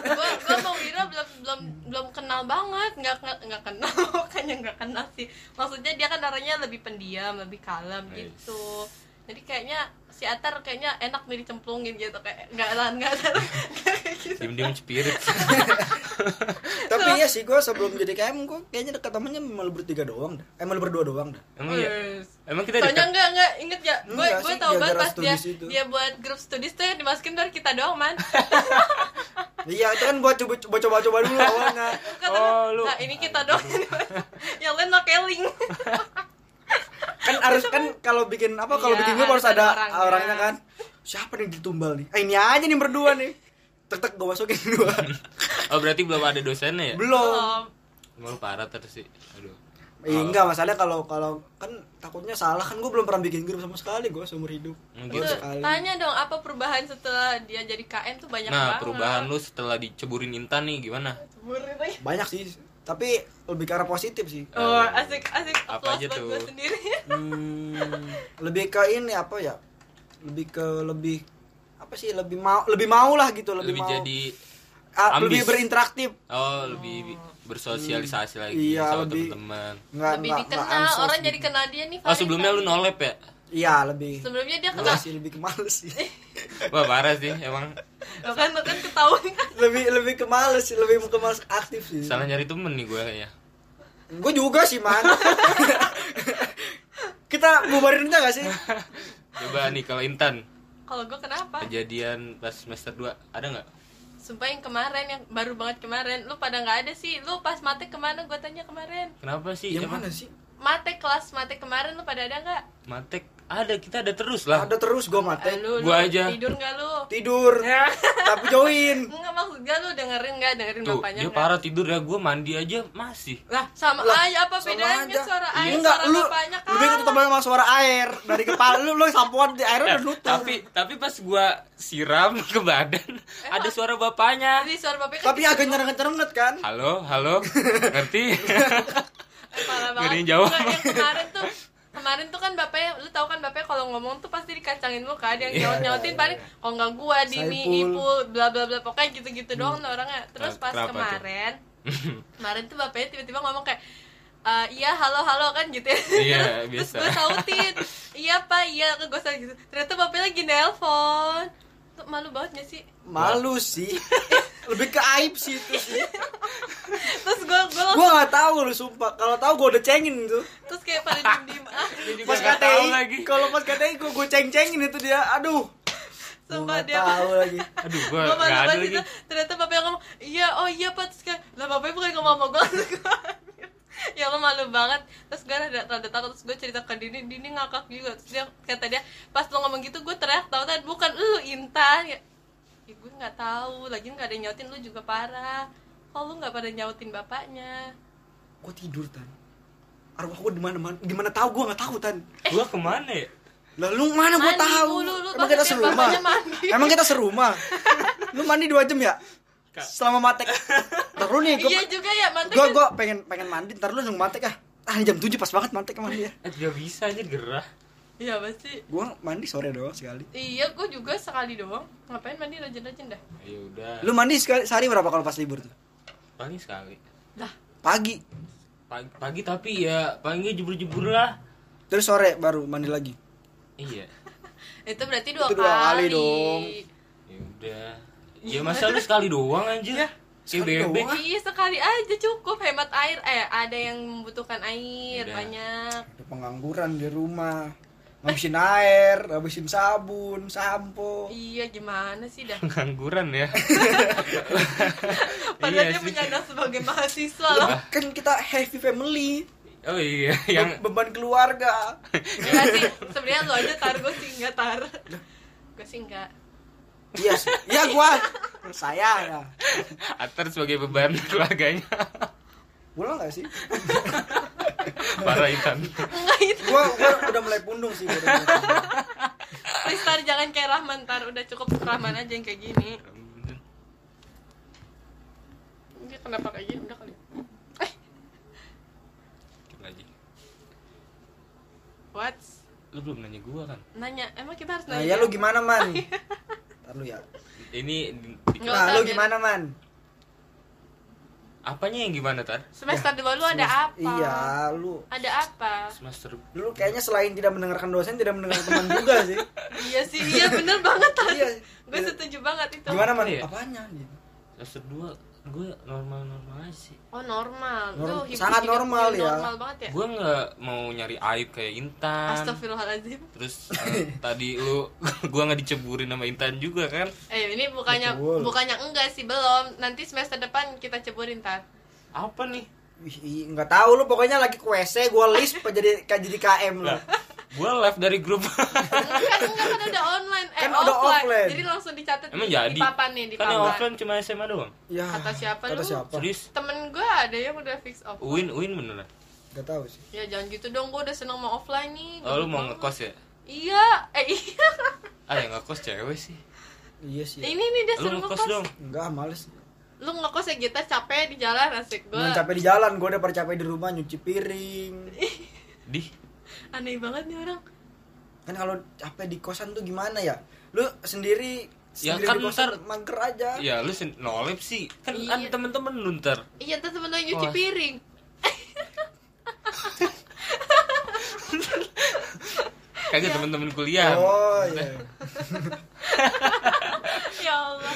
Speaker 2: gue gue mau Wira belum belum belum kenal banget nggak nggak- nggak kenal makanya nggak kenal sih maksudnya dia kan orangnya lebih pendiam lebih kalem
Speaker 1: Nice.
Speaker 2: gitu jadi kayaknya si Atar kayaknya enak nih dicemplungin gitu kayak nggak lah nggak lah nggak kayak gitu
Speaker 1: Diem-diem spirit.
Speaker 3: Tapi ya sih gue sebelum jadi KM gue kayaknya dekat temennya emang lu bertiga doang dah. Emang lu berdua doang dah.
Speaker 1: Emang iya.
Speaker 2: Wes.
Speaker 1: Emang kita
Speaker 2: Soalnya
Speaker 1: dekat.
Speaker 2: enggak enggak inget ya, gue
Speaker 3: Enggak
Speaker 2: gue
Speaker 3: sih,
Speaker 2: tau banget
Speaker 3: gara-gara
Speaker 2: pas dia
Speaker 3: studies itu.
Speaker 2: dia buat grup studies tuh yang dimasukin dari kita doang man.
Speaker 3: Iya, itu kan buat coba coba coba, coba dulu awalnya.
Speaker 2: Kata,
Speaker 1: Oh, lu-
Speaker 2: Nah ini kita doang yang dimasukin. yang lain no keling.
Speaker 3: Kan harus kan kalau bikin apa kalau
Speaker 2: Iya,
Speaker 3: bikin grup harus
Speaker 2: harus ada
Speaker 3: ada
Speaker 2: orangnya.
Speaker 3: orangnya. kan. Siapa nih ditumbal nih? Eh, ini aja nih berdua nih. Tek tek gue masukin dua.
Speaker 1: Oh berarti belum ada dosennya
Speaker 2: Iya.
Speaker 1: ya?
Speaker 3: Belum.
Speaker 2: Belum.
Speaker 1: Malu parah terus sih. Aduh.
Speaker 3: Eh, enggak masalah kalau kalau kan takutnya salah kan gue belum pernah bikin grup sama sekali gue seumur hidup.
Speaker 1: Hmm,
Speaker 3: Baru
Speaker 1: gitu.
Speaker 2: Tuh,
Speaker 3: sekali.
Speaker 2: tanya dong apa perubahan setelah dia jadi KM tuh banyak
Speaker 1: nah,
Speaker 2: banget.
Speaker 1: perubahan lu setelah diceburin Intan nih gimana?
Speaker 2: Burin lagi.
Speaker 3: Banyak sih, tapi lebih ke arah positif sih.
Speaker 2: Oh, asik asik
Speaker 1: Eh, Apa
Speaker 2: applause
Speaker 1: aja
Speaker 2: buat
Speaker 1: tuh?
Speaker 2: gue sendiri.
Speaker 3: Kan, Hmm, lebih ke ini apa ya? Lebih ke lebih apa sih? Lebih mau lebih mau lah gitu, lebih,
Speaker 1: Lebih,
Speaker 3: mau.
Speaker 1: jadi
Speaker 3: Ah, lebih
Speaker 1: ambis.
Speaker 3: berinteraktif.
Speaker 1: oh lebih bersosialisasi lagi
Speaker 3: Hmm. Iya,
Speaker 1: sama
Speaker 3: lebih-
Speaker 1: teman-teman.
Speaker 3: Enggak
Speaker 2: Lebih
Speaker 3: enggak- enggak
Speaker 2: dikenal,
Speaker 3: ansos
Speaker 2: orang
Speaker 3: gitu.
Speaker 2: jadi kenal dia nih.
Speaker 1: Oh
Speaker 2: Farid,
Speaker 1: sebelumnya
Speaker 2: kan?
Speaker 1: lu nolep ya?
Speaker 3: Iya, lebih.
Speaker 2: Sebelumnya dia kenal.
Speaker 3: Males sih, lebih ke males sih.
Speaker 1: Wah parah sih emang
Speaker 2: Lo kan lo kan ketahuan kan.
Speaker 3: lebih lebih ke males sih, lebih ke males aktif sih.
Speaker 1: salah nyari temen nih gue kayaknya.
Speaker 3: Gue juga sih, Man. kita bubarin aja gak sih?
Speaker 1: Coba nih kalau Intan
Speaker 2: Kalau gue kenapa?
Speaker 1: kejadian pas semester 2 ada nggak?
Speaker 2: Sumpah yang kemarin yang baru banget kemarin. Lu pada nggak ada sih. Lu pas mate kemana? Gue tanya kemarin.
Speaker 1: Kenapa sih?
Speaker 3: Yang
Speaker 1: Emang
Speaker 3: mana sih?
Speaker 2: Mate kelas mate kemarin lu pada ada nggak?
Speaker 1: Matek ada kita ada terus lah.
Speaker 3: Ada terus gue
Speaker 2: Eh,
Speaker 3: mate.
Speaker 2: Lu, lu
Speaker 1: Gua aja.
Speaker 2: tidur nggak lu?
Speaker 3: Tidur. tapi join.
Speaker 2: Enggak maksud gue lu dengerin nggak dengerin
Speaker 1: Tuh
Speaker 2: bapaknya
Speaker 1: dia
Speaker 2: nggak?
Speaker 1: parah tidur ya gue mandi aja masih.
Speaker 2: Lah sama
Speaker 3: Lah,
Speaker 2: aja apa
Speaker 3: sama
Speaker 2: bedanya
Speaker 3: aja. Iya,
Speaker 2: suara air
Speaker 3: Enggak,
Speaker 2: suara
Speaker 3: lu
Speaker 2: bapaknya kan?
Speaker 3: lebih ketemu sama suara air dari kepala lu lu sampoan di airnya udah nutup.
Speaker 1: Eh, tapi tapi pas gua siram ke badan ada suara bapaknya.
Speaker 2: Jadi suara bapaknya kan
Speaker 3: tapi agak nyerang-nyeranget kan?
Speaker 1: Halo, halo. Ngerti?
Speaker 2: Eh, parah
Speaker 1: Gak ada yang
Speaker 2: banget.
Speaker 1: jawab.
Speaker 2: Enggak, yang kemarin tuh kemarin tuh kan bapaknya lu tau kan bapaknya kalau ngomong tuh pasti dikacangin lu kan yang nyaut nyautin paling kalau nggak gua dini
Speaker 3: Saiful.
Speaker 2: ipul bla bla bla pokoknya gitu gitu doang tuh orangnya terus
Speaker 1: Hmm. Nah,
Speaker 2: pas
Speaker 1: kenapa tuh?
Speaker 2: kemarin kemarin tuh bapaknya tiba-tiba ngomong kayak "Eh, iya halo halo kan gitu ya
Speaker 1: Iya,
Speaker 2: terus
Speaker 1: biasa.
Speaker 2: gue sautin iya pak iya gue sautin gitu ternyata bapaknya lagi nelpon tuh malu banget gak sih
Speaker 3: Malu sih. lebih ke aib sih itu sih.
Speaker 2: terus gue gue
Speaker 3: Gua nggak tahu lu sumpah. Kalau tahu gua udah cengin itu.
Speaker 2: terus kayak pada diem diem ah
Speaker 1: Dia juga
Speaker 3: Pas
Speaker 1: Iya, nggak tahu lagi.
Speaker 3: KTI, kalau pas KTI gua gua ceng-cengin itu dia. Aduh. Gua
Speaker 2: sumpah
Speaker 3: nggak
Speaker 2: dia
Speaker 3: tahu lagi.
Speaker 1: Aduh,
Speaker 2: gue
Speaker 1: gua
Speaker 2: malu
Speaker 1: nggak ada
Speaker 2: banget
Speaker 1: lagi.
Speaker 2: itu ternyata bapak yang ngomong iya oh iya pak terus kayak lah bapaknya bukan ngomong sama gue ya lo malu banget terus gue rada rada takut terus gue cerita ke Dini Dini ngakak juga terus dia kata dia pas lo ngomong gitu gue teriak tau kan bukan lu Intan ya, ya gue nggak tahu lagi nggak ada yang nyautin lu juga parah kok lu nggak pada nyautin bapaknya
Speaker 3: Gua tidur tan. Arwah gua di mana di mana tahu gua nggak tahu tan.
Speaker 1: Gua kemana ya?
Speaker 3: Lah lu mana gua
Speaker 2: Mandi
Speaker 3: tahu?
Speaker 2: mulu, lu
Speaker 3: Emang kita
Speaker 2: pasti
Speaker 3: serumah.
Speaker 2: bapaknya mandi.
Speaker 3: Emang kita serumah. lu mandi dua jam ya?
Speaker 1: Kak.
Speaker 3: Selama matek. Ntar lu nih gua
Speaker 2: iya juga ya mantep
Speaker 3: gua,
Speaker 2: kan?
Speaker 3: gua pengen pengen mandi ntar lu langsung matek ah. Ah ini jam 7 pas banget matek emang dia.
Speaker 1: Eh, gak bisa aja gerah.
Speaker 2: iya pasti
Speaker 3: Gua mandi sore doang sekali.
Speaker 2: iya gue juga sekali doang ngapain mandi rajin-rajin dah
Speaker 1: Ya udah.
Speaker 3: Lu mandi sekali sehari berapa kalau pas libur tuh?
Speaker 1: paling sekali.
Speaker 2: lah
Speaker 3: Pagi.
Speaker 1: Pagi, pagi tapi ya palingnya jebur-jebur lah.
Speaker 3: Terus sore baru mandi lagi.
Speaker 1: Iya.
Speaker 2: itu berarti dua,
Speaker 3: Itu dua kali
Speaker 2: kali
Speaker 3: dong.
Speaker 1: Ya udah. Ya masa lu sekali doang anjir. Si
Speaker 3: sekali
Speaker 1: bebek.
Speaker 3: doang.
Speaker 2: Iya sekali aja cukup hemat air eh ada yang membutuhkan air
Speaker 1: Udah.
Speaker 2: banyak
Speaker 3: Ada pengangguran di rumah. Ngabisin air, ngabisin sabun, sampo.
Speaker 2: iya gimana sih dah
Speaker 1: Pengangguran ya.
Speaker 2: padahal
Speaker 1: Iya
Speaker 2: dia
Speaker 1: sih.
Speaker 2: menyandang sebagai mahasiswa loh
Speaker 3: Lah, Kan kita heavy family,
Speaker 1: Oh iya, yang
Speaker 3: Be- beban keluarga.
Speaker 2: Enggak Iya sih sebenarnya lo aja tar gue sih enggak tar gue sih enggak
Speaker 3: Iya, sih. iya gua. Saya ya.
Speaker 1: Atar sebagai beban keluarganya.
Speaker 3: Pulang gak sih?
Speaker 1: Parah Intan.
Speaker 2: enggak itu
Speaker 3: Gua, gua udah mulai pundung sih. gua udah mulai pundung.
Speaker 2: please tar jangan kayak Rahman tar udah cukup Rahman aja yang kayak gini dia kenapa kayak gini udah kali Eh.
Speaker 1: lu belum nanya gua kan
Speaker 2: nanya emang kita harus
Speaker 3: Nah,
Speaker 2: nanya
Speaker 3: ya lu gimana, Man? Ntar lu ya.
Speaker 1: ini di- di-
Speaker 2: Nggak
Speaker 3: Nah,
Speaker 2: usah,
Speaker 3: lu
Speaker 2: biar-
Speaker 3: gimana, Man?
Speaker 1: apanya yang gimana tar
Speaker 2: semester dulu lu ada apa
Speaker 3: Ya. Iya, lu
Speaker 2: ada apa
Speaker 1: semester
Speaker 3: lu kayaknya selain tidak mendengarkan dosen, tidak mendengarkan teman juga sih.
Speaker 2: iya sih iya bener banget
Speaker 3: Iya.
Speaker 2: gue setuju banget itu
Speaker 3: Gimana, Man?
Speaker 1: Apa ya?
Speaker 3: Apanya? gitu?
Speaker 1: semester dua gue normal normal aja sih
Speaker 2: oh normal Lu
Speaker 3: Norm-
Speaker 2: hidup
Speaker 3: sangat
Speaker 2: hidup-
Speaker 3: normal
Speaker 2: hidup
Speaker 3: ya.
Speaker 2: normal banget ya
Speaker 1: gue nggak mau nyari aib kayak Intan
Speaker 2: Astagfirullahaladzim
Speaker 1: terus eh, tadi lu gue nggak diceburin sama Intan juga kan
Speaker 2: Eh ini bukannya
Speaker 3: Betul.
Speaker 2: bukannya enggak sih belum nanti semester depan kita ceburin tar
Speaker 1: apa nih
Speaker 3: Wih, i- nggak tahu lu pokoknya lagi ke WC, gua list apa jadi kayak jadi KM lu.
Speaker 1: gue live dari grup
Speaker 2: enggak enggak kan udah online eh
Speaker 3: Kan udah
Speaker 2: offline.
Speaker 3: offline.
Speaker 2: jadi langsung dicatat
Speaker 1: emang
Speaker 2: di,
Speaker 1: jadi
Speaker 2: di papan nih di
Speaker 1: kan yang
Speaker 2: papan
Speaker 1: offline cuma SMA doang
Speaker 3: Ya.
Speaker 2: Kata siapa
Speaker 3: kata
Speaker 2: lu?
Speaker 3: siapa?
Speaker 1: serius
Speaker 2: temen gue ada yang udah fix off
Speaker 1: Uin Uin beneran
Speaker 3: Gak tahu sih.
Speaker 2: ya jangan gitu dong gue udah seneng mau offline nih
Speaker 1: oh, lu
Speaker 2: Gabut
Speaker 1: mau
Speaker 2: banget.
Speaker 1: ngekos ya
Speaker 2: iya eh iya
Speaker 1: ah yang ngekos cewek sih
Speaker 3: Iya sih.
Speaker 2: ini nih dia
Speaker 1: lu
Speaker 2: suruh
Speaker 1: ngekos
Speaker 2: ngekos
Speaker 1: dong
Speaker 3: Enggak, males.
Speaker 2: lu ngekos ya kita capek di jalan asik gue
Speaker 3: Jangan capek di jalan, gua udah capek di rumah nyuci piring.
Speaker 1: di
Speaker 2: aneh banget nih orang
Speaker 3: Kan kalau capek di kosan tuh gimana ya? Lu sendiri
Speaker 1: Ya
Speaker 3: sendiri
Speaker 1: kan
Speaker 3: di kosan
Speaker 1: ntar-
Speaker 3: mager aja.
Speaker 1: ya lu sen- nolep sih kan
Speaker 2: Iya.
Speaker 1: ada temen-temen lu ntar
Speaker 2: iya tuh temen lu yang nyuci
Speaker 1: Wah.
Speaker 2: piring Iya.
Speaker 1: kagak temen-temen kuliah
Speaker 3: Oh iya.
Speaker 2: ya Allah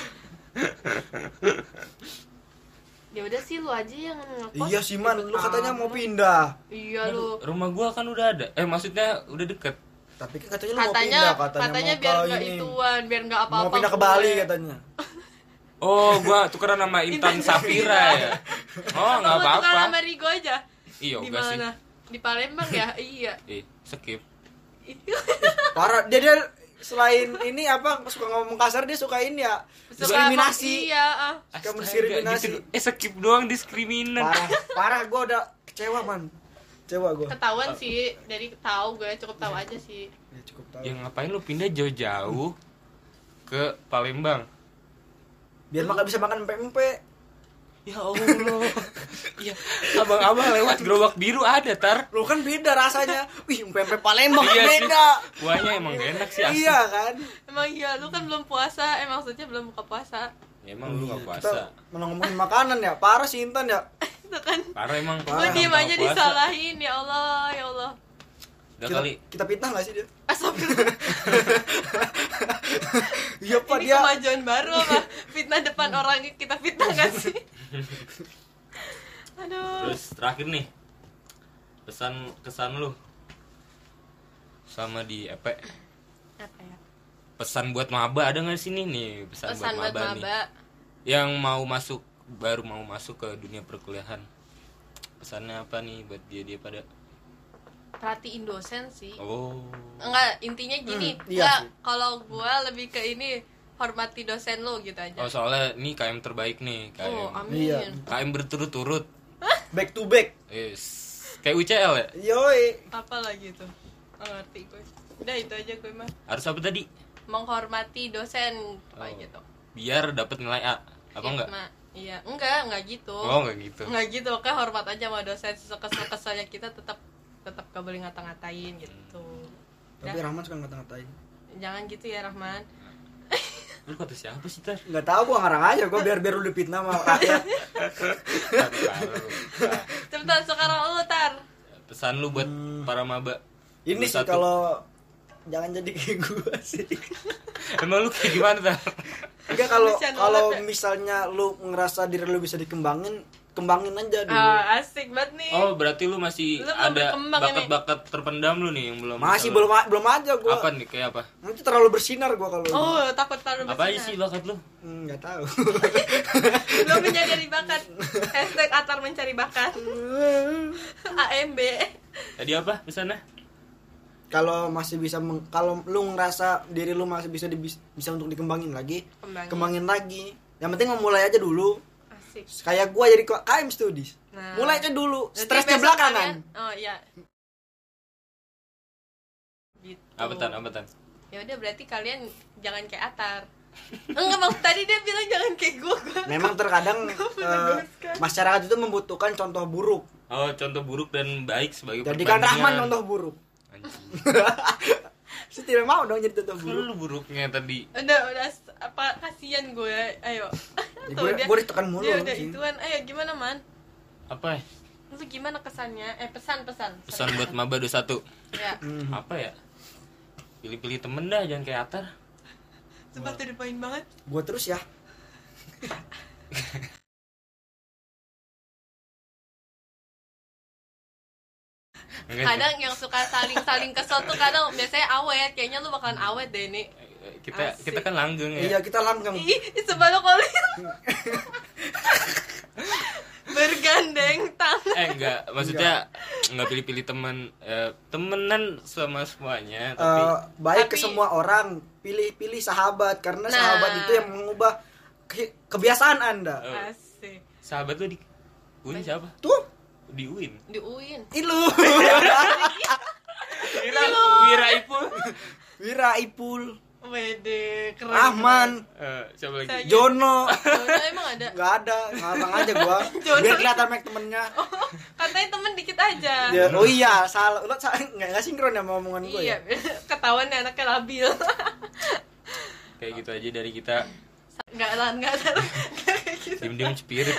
Speaker 2: ya udah sih lu aja yang ngekos
Speaker 3: Iya sih man, lu
Speaker 2: Ikut
Speaker 3: katanya
Speaker 2: amat.
Speaker 3: mau pindah.
Speaker 2: iya
Speaker 1: Kan
Speaker 2: lu
Speaker 1: rumah gua kan udah ada eh maksudnya udah deket
Speaker 3: Tapi kan katanya lu mau
Speaker 2: katanya
Speaker 3: pindah
Speaker 2: katanya,
Speaker 3: katanya, mau
Speaker 2: biar
Speaker 3: ke
Speaker 2: nggak
Speaker 3: ini.
Speaker 2: ituan biar nggak apa-apa
Speaker 3: mau pindah ke
Speaker 2: gue.
Speaker 3: Bali katanya.
Speaker 1: oh gua tukeran sama Intan Safira ya oh nggak
Speaker 2: Lu
Speaker 1: apa-apa
Speaker 2: tukar sama Rigo aja
Speaker 1: iya
Speaker 2: di
Speaker 1: enggak sih
Speaker 2: mana di Palembang ya iya
Speaker 1: eh skip
Speaker 3: Parah, dia dia selain ini apa suka ngomong kasar dia suka ini ya. Diskriminasi.
Speaker 2: iya ah.
Speaker 1: Astaga,
Speaker 3: Suka mendiskriminasi.
Speaker 1: gitu. eh skip doang
Speaker 2: Iya.
Speaker 1: diskriminan
Speaker 3: Parah, parah gua udah kecewa man. Kecewa gua.
Speaker 2: ketahuan sih dari tahu gue cukup tahu aja sih
Speaker 3: Ya cukup tahu.
Speaker 1: ya ngapain lu pindah jauh-jauh ke Palembang
Speaker 3: Biar makan bisa makan pempek.
Speaker 1: ya Allah ya
Speaker 2: Iya.
Speaker 1: abang-abang lewat gerobak biru ada tar
Speaker 3: Lu kan beda rasanya. Wih, pempek Palembang
Speaker 1: Iya sih.
Speaker 3: beda.
Speaker 1: kuahnya emang gak enak sih asli
Speaker 3: Iya kan?
Speaker 2: emang iya lu kan belum puasa eh maksudnya belum buka puasa
Speaker 1: Ya, emang lu gak
Speaker 3: Iya, Kita
Speaker 1: puasa
Speaker 3: malah ngomongin makanan ya. Parah sih Intan ya.
Speaker 2: itu kan
Speaker 1: parah emang
Speaker 2: gue
Speaker 3: Parah,
Speaker 2: diem
Speaker 1: nggak
Speaker 2: aja
Speaker 1: puasa.
Speaker 2: disalahin ya Allah ya Allah
Speaker 1: udah
Speaker 3: kita,
Speaker 1: kali
Speaker 3: kita fitnah gak sih dia?
Speaker 2: Astagfirullah,
Speaker 3: Iya pak
Speaker 2: ini
Speaker 3: dia
Speaker 2: kemajuan baru apa fitnah depan orang kita fitnah gak sih aduh
Speaker 1: terus terakhir nih pesan kesan lu sama di EP
Speaker 2: apa ya
Speaker 1: pesan buat maba ada nggak sini nih pesan,
Speaker 2: pesan
Speaker 1: buat
Speaker 2: buat
Speaker 1: maba nih
Speaker 2: maba
Speaker 1: yang mau masuk baru mau masuk ke dunia perkuliahan pesannya apa nih buat dia dia pada
Speaker 2: perhatiin dosen sih
Speaker 1: oh
Speaker 2: enggak intinya gini
Speaker 3: Hmm, iya
Speaker 2: enggak
Speaker 3: sih.
Speaker 2: kalau gua lebih ke ini hormati dosen lo gitu
Speaker 1: oh
Speaker 2: aja
Speaker 1: soalnya ini KM terbaik nih KM
Speaker 2: oh amin
Speaker 3: Iya.
Speaker 1: KM berturut-turut
Speaker 3: back to back.
Speaker 1: yes kayak UCL ya
Speaker 3: Yoi.
Speaker 2: apa lagi tuh Nggak ngerti gue udah itu aja gue mah
Speaker 1: harus apa tadi
Speaker 2: menghormati dosen apa
Speaker 1: Oh.
Speaker 2: gitu
Speaker 1: biar dapat nilai A apa
Speaker 2: Iya,
Speaker 1: enggak
Speaker 2: Ma. iya enggak enggak gitu
Speaker 1: oh enggak gitu
Speaker 2: enggak gitu oke hormat aja sama dosen kesel keselnya kita tetap tetap gak boleh ngata-ngatain gitu
Speaker 3: Tapi Rahman suka ngata-ngatain.
Speaker 2: jangan gitu ya Rahman
Speaker 1: lu kata siapa sih tar
Speaker 3: Enggak tahu gua ngarang aja gua biar biar lu dipitnah sama rakyat.
Speaker 1: Tar, tar, lu. Tar.
Speaker 2: cepetan sekarang oh, lu tar
Speaker 1: pesan lu buat para maba
Speaker 3: Hmm. Ini
Speaker 1: Nomor
Speaker 3: sih
Speaker 1: satu.
Speaker 3: kalau jangan jadi kayak gua sih.
Speaker 1: emang lu kayak gimana tar
Speaker 3: Enggak kalau
Speaker 2: Kasihan
Speaker 3: kalau
Speaker 2: banget ya.
Speaker 3: misalnya lu ngerasa diri lu bisa dikembangin, kembangin aja dulu.
Speaker 2: Ah, asik banget nih
Speaker 1: Iya. oh berarti lu masih
Speaker 2: Lu belum
Speaker 1: ada
Speaker 2: berkembang
Speaker 1: bakat-bakat terpendam lu nih yang belum
Speaker 3: Masih
Speaker 1: bisa lu-
Speaker 3: belum a- belum aja gua.
Speaker 1: apa nih kayak apa
Speaker 3: Nanti terlalu bersinar gua kalau.
Speaker 2: oh takut taruh
Speaker 1: apa aja sih bakat lu
Speaker 3: Hmm, Nggak tahu.
Speaker 2: belum menyadari bakat hashtag Atar mencari bakat AMB
Speaker 1: tadi apa pesannya
Speaker 3: kalau masih bisa meng- kalau lu ngerasa diri lu masih bisa di- bisa untuk dikembangin lagi,
Speaker 2: Kembangin.
Speaker 3: kembangin lagi. Yang penting memulai aja dulu.
Speaker 2: asik
Speaker 3: Kayak gua jadi ko- KM studies.
Speaker 2: Nah.
Speaker 3: Mulai aja dulu,
Speaker 2: Nanti
Speaker 3: stresnya
Speaker 2: besok
Speaker 3: belakangan.
Speaker 2: kalian- oh iya gitu
Speaker 1: apa tan apa tan
Speaker 2: ya udah berarti kalian jangan kayak Atar enggak mau tadi dia bilang jangan kayak gue gue
Speaker 3: Memang terkadang eh, masyarakat itu membutuhkan contoh buruk.
Speaker 1: oh contoh buruk dan baik sebagai
Speaker 3: Jadikan
Speaker 1: perbandingan.
Speaker 3: Rahman contoh buruk.
Speaker 1: anjing
Speaker 3: Saya tidak mau dong jadi tutup
Speaker 1: Kan
Speaker 3: buruk.
Speaker 1: lu buruknya tadi
Speaker 2: udah udah s- apa kasihan gue ayo
Speaker 3: Ya,
Speaker 2: Tuh,
Speaker 3: gue,
Speaker 2: dia-
Speaker 3: gue ditekan mulu
Speaker 2: dia
Speaker 3: sama
Speaker 2: udah
Speaker 3: sih.
Speaker 2: ituan ayo gimana man
Speaker 1: apa ya
Speaker 2: lu gimana kesannya eh pesan pesan
Speaker 1: pesan buat maba 21
Speaker 2: ya
Speaker 3: Hmm.
Speaker 1: apa ya pilih-pilih temen dah jangan kayak Atar
Speaker 2: sumpah tuh dipoin banget
Speaker 3: Gue terus ya.
Speaker 1: Enggak sih.
Speaker 2: kadang yang suka saling saling kesel tuh kadang biasanya awet kayaknya lu bakalan awet deh ini
Speaker 1: Eh, kita
Speaker 2: Asik.
Speaker 1: kita kan langgeng ya
Speaker 3: Iya, kita langgeng.
Speaker 2: ih sebab lu kalau bergandeng tangan
Speaker 1: eh enggak maksudnya enggak pilih-pilih teman eh, temenan sama semuanya tapi
Speaker 3: Eh, baik
Speaker 2: tapi-
Speaker 3: ke semua orang, pilih-pilih sahabat karena
Speaker 2: Nah.
Speaker 3: sahabat itu yang mengubah ke- kebiasaan Anda.
Speaker 1: eh,
Speaker 2: asik
Speaker 1: sahabat lu di Uin siapa
Speaker 3: Tuh,
Speaker 1: di Uin
Speaker 2: di UIN
Speaker 3: Ilu.
Speaker 1: Wira Wira Ipul
Speaker 3: Wira Ipul,
Speaker 2: Wede, keren
Speaker 3: Rahman,
Speaker 1: Eh, siapa lagi
Speaker 2: Saya-
Speaker 3: Jono.
Speaker 2: Jono emang ada
Speaker 3: Gak ada, ngarang aja gua. Biar kelihatan make temennya.
Speaker 2: Oh. katanya temen dikit aja
Speaker 3: Ya, oh iya, salah. Lo salah nggak nggak sinkron ya sama omongan gue
Speaker 2: iya
Speaker 3: ya?
Speaker 2: ketahuan nih anaknya labil
Speaker 1: kayak gitu aja dari kita
Speaker 2: nggak lah nggak lah Nggak kayak gitu
Speaker 1: diem-diem cepirit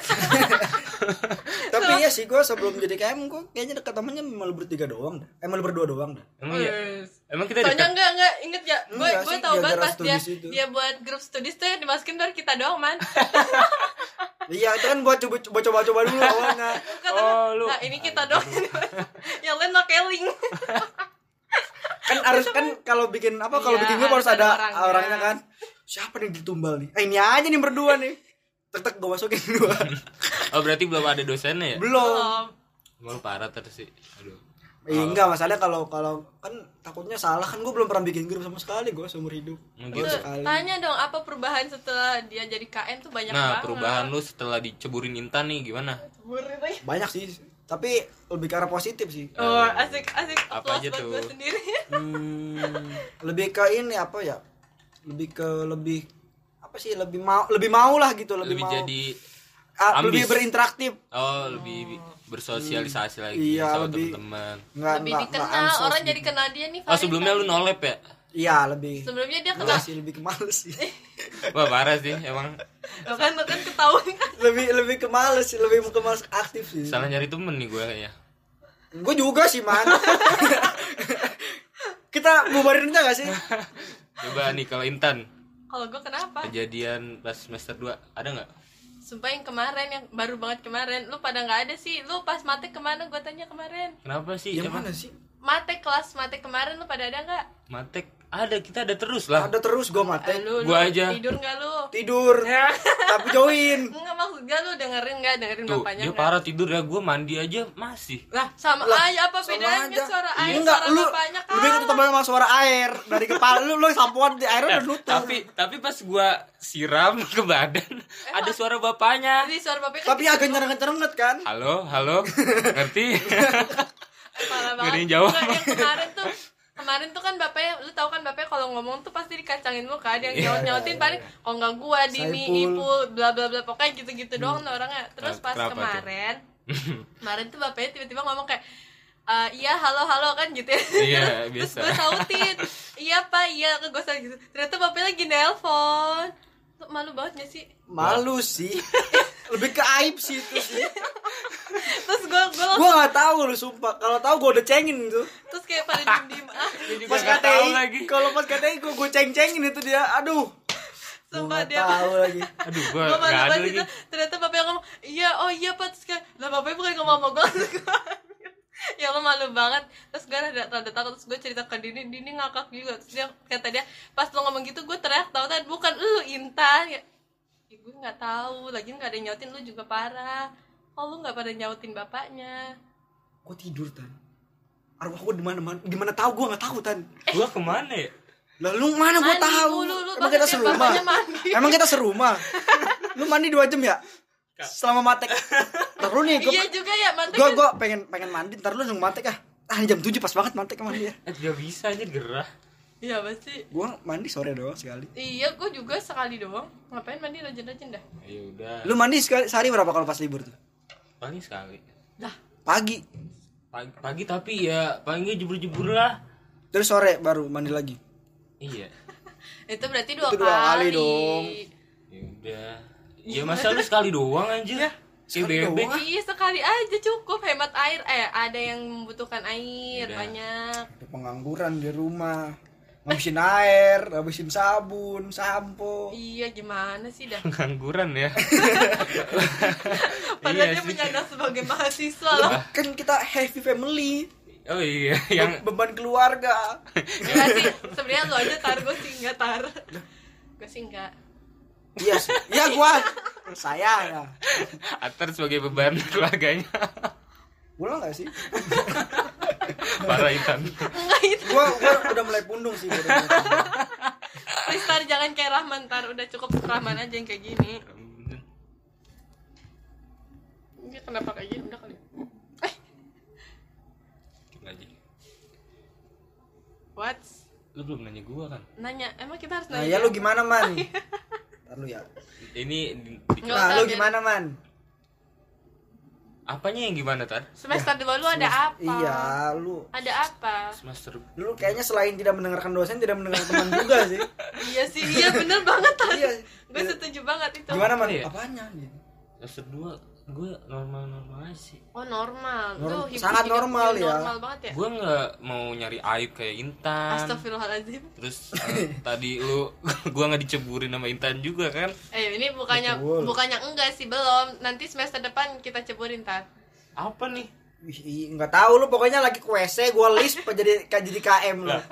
Speaker 3: Tapi iya sih gue sebelum jadi KM gue kayaknya deket temennya malu bertiga doang dah. Eh malu berdua doang dah.
Speaker 1: emang ya
Speaker 2: Wes.
Speaker 1: emang kita
Speaker 2: Soalnya
Speaker 1: dekat
Speaker 2: enggak enggak inget ya, gue
Speaker 3: iya. Enggak
Speaker 2: gue
Speaker 3: sih,
Speaker 2: tau banget
Speaker 3: gara-gara
Speaker 2: pas dia
Speaker 3: studies itu.
Speaker 2: dia buat grup studies tuh yang dimasukin dari kita doang man.
Speaker 3: Iya, itu kan buat coba coba coba, coba dulu awalnya.
Speaker 2: Bukan,
Speaker 1: Oh, lu-
Speaker 2: Nah ini kita doang, yang lain pakai link.
Speaker 3: Kan harus kan kalau bikin apa kalau
Speaker 2: Iya,
Speaker 3: bikin gue harus
Speaker 2: harus ada orangnya.
Speaker 3: ada orangnya. kan. Siapa nih ditumbal nih? Eh ini aja nih berdua nih. Tetek gue masukin dua.
Speaker 1: oh berarti belum ada dosennya ya
Speaker 3: Belum.
Speaker 2: Belum.
Speaker 1: Mau parah terus sih. Aduh.
Speaker 3: Eh, enggak masalahnya kalau kalau kan takutnya salah kan gue belum pernah bikin grup sama sekali gue seumur hidup.
Speaker 1: Mungkin.
Speaker 3: Baru
Speaker 2: Tuh,
Speaker 3: gitu. sekali.
Speaker 2: tanya dong apa perubahan setelah dia jadi KM tuh banyak
Speaker 1: Nah,
Speaker 2: banget.
Speaker 1: perubahan lu setelah diceburin Intan nih gimana?
Speaker 2: Burin lagi.
Speaker 3: Banyak sih, tapi lebih ke arah positif sih.
Speaker 2: Oh, asik asik
Speaker 1: Nah, Apa
Speaker 2: applause
Speaker 1: aja
Speaker 2: buat
Speaker 1: tuh?
Speaker 2: gue sendiri.
Speaker 3: Hmm, lebih ke ini apa ya? Lebih ke lebih apa sih? Lebih mau lebih mau lah gitu, lebih,
Speaker 1: Lebih
Speaker 3: mau.
Speaker 1: jadi
Speaker 3: Ah, lebih
Speaker 1: ambis.
Speaker 3: berinteraktif.
Speaker 1: oh lebih bersosialisasi lagi
Speaker 3: Iya,
Speaker 1: sama
Speaker 3: lebih-
Speaker 1: teman-teman.
Speaker 3: Enggak
Speaker 2: Lebih
Speaker 3: enggak- enggak
Speaker 2: dikenal
Speaker 3: ansos
Speaker 2: orang
Speaker 3: gitu.
Speaker 2: jadi kenal dia nih.
Speaker 1: Oh,
Speaker 2: Farid,
Speaker 1: sebelumnya lu
Speaker 2: Farid.
Speaker 1: nolep ya?
Speaker 3: Iya, lebih.
Speaker 2: Sebelumnya dia kenal.
Speaker 3: Enggak sih, lebih ke males sih.
Speaker 1: Wah, parah sih emang.
Speaker 2: Lo kan lo kan ketahuan kan.
Speaker 3: lebih lebih ke males sih, lebih ke males aktif sih.
Speaker 1: Salah nyari temen nih gue kayaknya.
Speaker 3: Gue juga sih, Man. Kita bubarin aja gak sih?
Speaker 1: Coba nih kalau Intan,
Speaker 2: Kalau gue kenapa?
Speaker 1: kejadian pas semester 2 ada nggak?
Speaker 2: Sumpah yang kemarin yang baru banget kemarin lu pada nggak ada sih lu pas mate kemana gue tanya kemarin
Speaker 1: Kenapa sih?
Speaker 3: Yang
Speaker 1: Siapa?
Speaker 3: Ya mana sih?
Speaker 2: mate kelas mate kemarin lu pada ada nggak
Speaker 1: Matek ada kita ada terus lah.
Speaker 3: Ada terus gue
Speaker 2: Eh,
Speaker 3: mate.
Speaker 2: lu, lu
Speaker 1: Gua aja.
Speaker 2: tidur nggak lu
Speaker 3: Tidur. tapi join.
Speaker 2: nggak maksud gak lu dengerin nggak dengerin
Speaker 1: Tuh,
Speaker 2: bapaknya
Speaker 1: dia
Speaker 2: nggak?
Speaker 1: parah tidur ya, gue mandi aja masih.
Speaker 2: lah sama
Speaker 3: iya, Lah,
Speaker 2: ay apa
Speaker 3: sama
Speaker 2: bedanya
Speaker 3: aja.
Speaker 2: suara ay
Speaker 3: Enggak,
Speaker 2: suara
Speaker 3: lu
Speaker 2: bapaknya kan
Speaker 3: lebih ketutupan sama suara air dari kepala lu lu sampoan di air udah nutup
Speaker 1: Eh, Tapi tapi pas gua siram ke badan
Speaker 3: Eh,
Speaker 1: ada suara bapaknya.
Speaker 2: jadi suara bapaknya kan
Speaker 3: tapi agak nyerang-nyerang kan
Speaker 1: Halo, halo, ngerti?
Speaker 2: parah
Speaker 1: Gak ada
Speaker 2: banget
Speaker 1: yang jawab.
Speaker 2: Nggak, yang kemarin tuh kemarin tuh kan bapaknya lu tahu kan bapaknya kalau ngomong tuh pasti dikacangin lu kan yang
Speaker 1: Iya.
Speaker 2: nyaut
Speaker 3: Iya,
Speaker 2: nyautin paling kalau nggak gua dini
Speaker 3: Saiful.
Speaker 2: ipul bla bla bla pokoknya gitu gitu doang tuh orangnya
Speaker 1: Eh,
Speaker 2: terus pas
Speaker 1: Hmm. kenapa tuh?
Speaker 2: kemarin kemarin tuh bapaknya tiba-tiba ngomong kayak "Eh, iya halo halo kan gitu ya
Speaker 1: Iya,
Speaker 2: terus
Speaker 1: biasa.
Speaker 2: gue sautin iya pak iya gue sautin gitu ternyata bapaknya lagi nelpon tuh malu banget gak sih
Speaker 3: malu sih lebih ke aib sih itu sih
Speaker 2: terus gue gue
Speaker 3: gue nggak tahu lu sumpah kalau tahu gue udah cengin itu
Speaker 2: terus kayak pada diem diem ah
Speaker 1: Juga
Speaker 3: pas
Speaker 1: nggak tahu lagi.
Speaker 3: KTI kalau pas KTI gue gue ceng cengin itu dia aduh gue
Speaker 2: sumpah
Speaker 3: nggak
Speaker 2: dia
Speaker 3: tahu lagi
Speaker 1: Aduh,
Speaker 2: gue
Speaker 1: gua
Speaker 2: malu
Speaker 1: nggak ada
Speaker 2: banget
Speaker 1: lagi.
Speaker 3: Eh.
Speaker 2: itu ternyata bapak yang ngomong iya oh iya pak terus kayak lah bapaknya bukan ngomong sama gue ya lo malu banget terus gue rada, rada takut terus gue cerita ke Dini Dini ngakak juga terus dia kata dia pas lo ngomong gitu gue teriak tau tadi bukan lu Intan ya, ya gue nggak tahu lagi nggak ada yang nyautin lu juga parah oh lu nggak pada nyautin bapaknya
Speaker 3: gue tidur tan arwah gue di mana mana gimana tahu gue nggak tahu tan
Speaker 1: Gua kemana ya?
Speaker 3: lalu mana gue
Speaker 2: Mandi
Speaker 3: tahu
Speaker 2: dulu, lu
Speaker 3: emang
Speaker 2: baru
Speaker 3: kita
Speaker 2: lihat
Speaker 3: serumah
Speaker 2: bapaknya mandi.
Speaker 3: emang kita serumah lu mandi dua jam ya selama matek terus nih gue
Speaker 2: iya juga ya mantep
Speaker 3: gue
Speaker 2: kan
Speaker 3: gue pengen pengen mandi ntar lu nunggu mantek ah ah jam 7 pas banget mantek mandi ya
Speaker 1: Eh, nggak bisa aja gerah.
Speaker 2: iya pasti
Speaker 3: gue mandi sore doang sekali
Speaker 2: iya gue juga sekali doang ngapain mandi rajin-rajin dah
Speaker 1: Ya udah,
Speaker 3: lu mandi sekali sehari berapa kalau pas libur tuh
Speaker 1: paling sekali.
Speaker 2: dah
Speaker 3: pagi
Speaker 1: pagi, pagi tapi ya paginya jebur-jebur lah
Speaker 3: Terus sore baru mandi lagi.
Speaker 1: iya
Speaker 2: itu berarti dua,
Speaker 3: Itu dua kali
Speaker 2: kali.
Speaker 3: dong.
Speaker 1: ya udah ya masa lu sekali doang anjir ya
Speaker 3: sekali
Speaker 1: CBB
Speaker 3: doang.
Speaker 2: Iya sekali aja cukup hemat air eh ada yang membutuhkan air
Speaker 1: Udah.
Speaker 2: banyak
Speaker 3: Ada pengangguran di rumah. Ngabisin air, ngabisin sabun, sampo.
Speaker 2: iya gimana sih dah
Speaker 1: pengangguran ya
Speaker 2: padahal
Speaker 1: Iya
Speaker 2: dia
Speaker 1: sih.
Speaker 2: menyandang sebagai mahasiswa loh
Speaker 3: Kan kita heavy family,
Speaker 1: oh iya yang
Speaker 3: beban keluarga.
Speaker 2: Iya sih sebenarnya lu aja tar gue sih enggak tar gue sih enggak
Speaker 3: Iya sih. Iya gua. Saya ya.
Speaker 1: Atar sebagai beban keluarganya
Speaker 3: Gua enggak sih?
Speaker 1: parah Intan
Speaker 2: enggak itu
Speaker 3: Gua gua udah mulai pundung sih. gua udah mulai pundung.
Speaker 2: please tar jangan kayak Rahman tar udah cukup Rahman aja yang kayak gini dia Iya, kenapa kayak gini udah kali
Speaker 1: lagi
Speaker 2: what
Speaker 1: lu belum nanya gua kan
Speaker 2: nanya emang kita harus
Speaker 3: Nah,
Speaker 2: nanya
Speaker 3: ya lu gimana, Man? Ntar lu ya.
Speaker 1: ini di- di-
Speaker 2: Nggak usah,
Speaker 3: Nah, lu
Speaker 2: biar-
Speaker 3: gimana, Man?
Speaker 1: apanya yang gimana tar
Speaker 2: semester dua lu ada apa
Speaker 3: Iya, lu
Speaker 2: ada apa
Speaker 1: semester
Speaker 3: lu kayaknya selain tidak mendengarkan dosen tidak mendengarkan teman juga sih
Speaker 2: iya sih iya bener banget tar
Speaker 3: Iya.
Speaker 2: gue setuju banget itu
Speaker 3: gimana man
Speaker 1: Iya.
Speaker 3: apanya gitu.
Speaker 1: semester dua gua normal-normal aja sih
Speaker 2: Oh normal, Tuh,
Speaker 3: Norm-
Speaker 2: hidup-
Speaker 3: sangat
Speaker 2: hidup-
Speaker 3: normal
Speaker 2: hidup
Speaker 3: ya.
Speaker 2: Normal banget ya.
Speaker 1: gua nggak mau nyari aib kayak Intan
Speaker 2: Astagfirullahaladzim.
Speaker 1: terus eh, tadi lu gua nggak diceburin sama Intan juga kan
Speaker 2: Eh ini bukannya
Speaker 3: Betul.
Speaker 2: bukannya enggak sih belum. Nanti semester depan kita ceburin tar.
Speaker 1: apa nih
Speaker 3: Wih, i- nggak tahu lu pokoknya lagi ke WC gua list apa jadi kayak jadi KM lu
Speaker 1: lah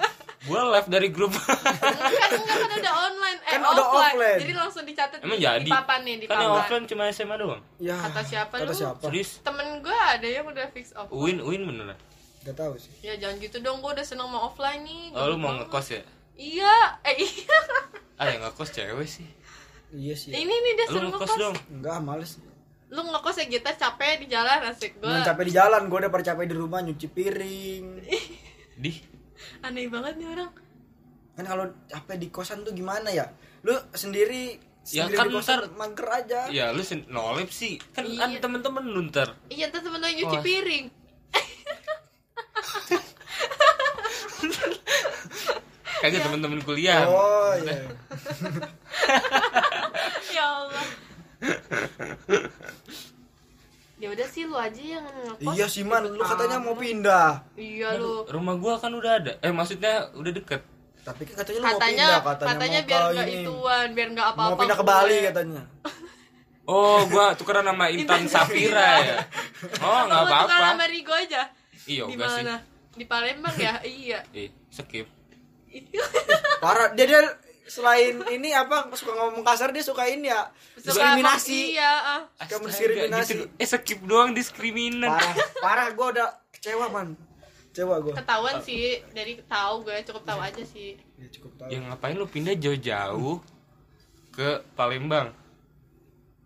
Speaker 1: gua live dari grup
Speaker 2: Enggak enggak kan udah online. Eh
Speaker 3: Kan udah offline.
Speaker 2: Jadi langsung dicatat
Speaker 1: emang
Speaker 2: di,
Speaker 1: jadi
Speaker 2: di papan nih di
Speaker 1: kan yang
Speaker 2: papan.
Speaker 1: offline cuma SMA doang
Speaker 3: ya
Speaker 2: Kata siapa
Speaker 3: kata
Speaker 2: lu?
Speaker 3: siapa
Speaker 1: serius
Speaker 2: Temen gue ada yang udah fix off.
Speaker 1: Uin Uin beneran
Speaker 3: nggak tahu sih
Speaker 2: Ya jangan gitu dong, gue udah seneng mau offline nih.
Speaker 1: oh lu
Speaker 2: Gabut
Speaker 1: mau
Speaker 2: banget.
Speaker 1: ngekos ya
Speaker 2: Iya, eh iya.
Speaker 1: ah yang ngekos cewek sih
Speaker 3: iya sih
Speaker 2: ini nih dia
Speaker 1: lu
Speaker 2: suruh
Speaker 1: ngekos
Speaker 2: ngekos.
Speaker 1: dong
Speaker 3: enggak males
Speaker 2: Lu ngekos ya kita capek di jalan asik gue.
Speaker 3: Cuman capek di jalan gua udah pada capek di rumah nyuci piring
Speaker 1: di
Speaker 2: Aneh banget nih orang.
Speaker 3: kan kalau capek di kosan tuh gimana ya lu sendiri
Speaker 1: Ya
Speaker 3: sendiri
Speaker 1: kan,
Speaker 3: di kosan
Speaker 1: ntar-
Speaker 3: mager aja Iya,
Speaker 1: ya lu sen- nolep sih kan
Speaker 2: Iya.
Speaker 1: ada temen-temen lu ntar
Speaker 2: Iya, terus temen lu yang nyuci
Speaker 1: Wah.
Speaker 2: piring.
Speaker 1: kagak
Speaker 2: Iya.
Speaker 1: temen-temen kuliah
Speaker 3: oh iya
Speaker 2: ya Allah. ya udah sih lu aja yang ngekos.
Speaker 3: iya sih man lu katanya mau pindah
Speaker 2: Iya lu.
Speaker 1: rumah gua kan udah ada eh maksudnya udah deket
Speaker 3: tapi kan katanya lu mau
Speaker 2: Katanya
Speaker 3: pindah
Speaker 2: katanya,
Speaker 3: katanya, mau
Speaker 2: biar
Speaker 3: ke
Speaker 2: nggak
Speaker 3: ini.
Speaker 2: ituan, biar nggak apa-apa.
Speaker 3: mau pindah ke
Speaker 2: gue.
Speaker 3: Bali katanya
Speaker 1: oh gua tukeran sama Intan Safira ya oh
Speaker 2: Apa
Speaker 1: nggak
Speaker 2: lu tukar
Speaker 1: apa-apa
Speaker 2: sama Rigo aja.
Speaker 1: iya
Speaker 2: Di
Speaker 1: enggak sih
Speaker 2: mana? Di Palembang ya? iya.
Speaker 1: eh skip
Speaker 3: Parah, dia, dia selain ini apa suka ngomong kasar dia suka ini ya diskriminasi.
Speaker 2: Iya, ah.
Speaker 1: Astaga,
Speaker 3: Suka mendiskriminasi.
Speaker 1: gitu. eh skip doang diskriminan
Speaker 3: Parah, parah gue udah kecewa man, kecewa gue.
Speaker 2: Ketahuan sih dari tahu gue cukup tahu aja sih.
Speaker 3: Ya cukup tahu.
Speaker 1: ya ngapain lu pindah jauh-jauh ke Palembang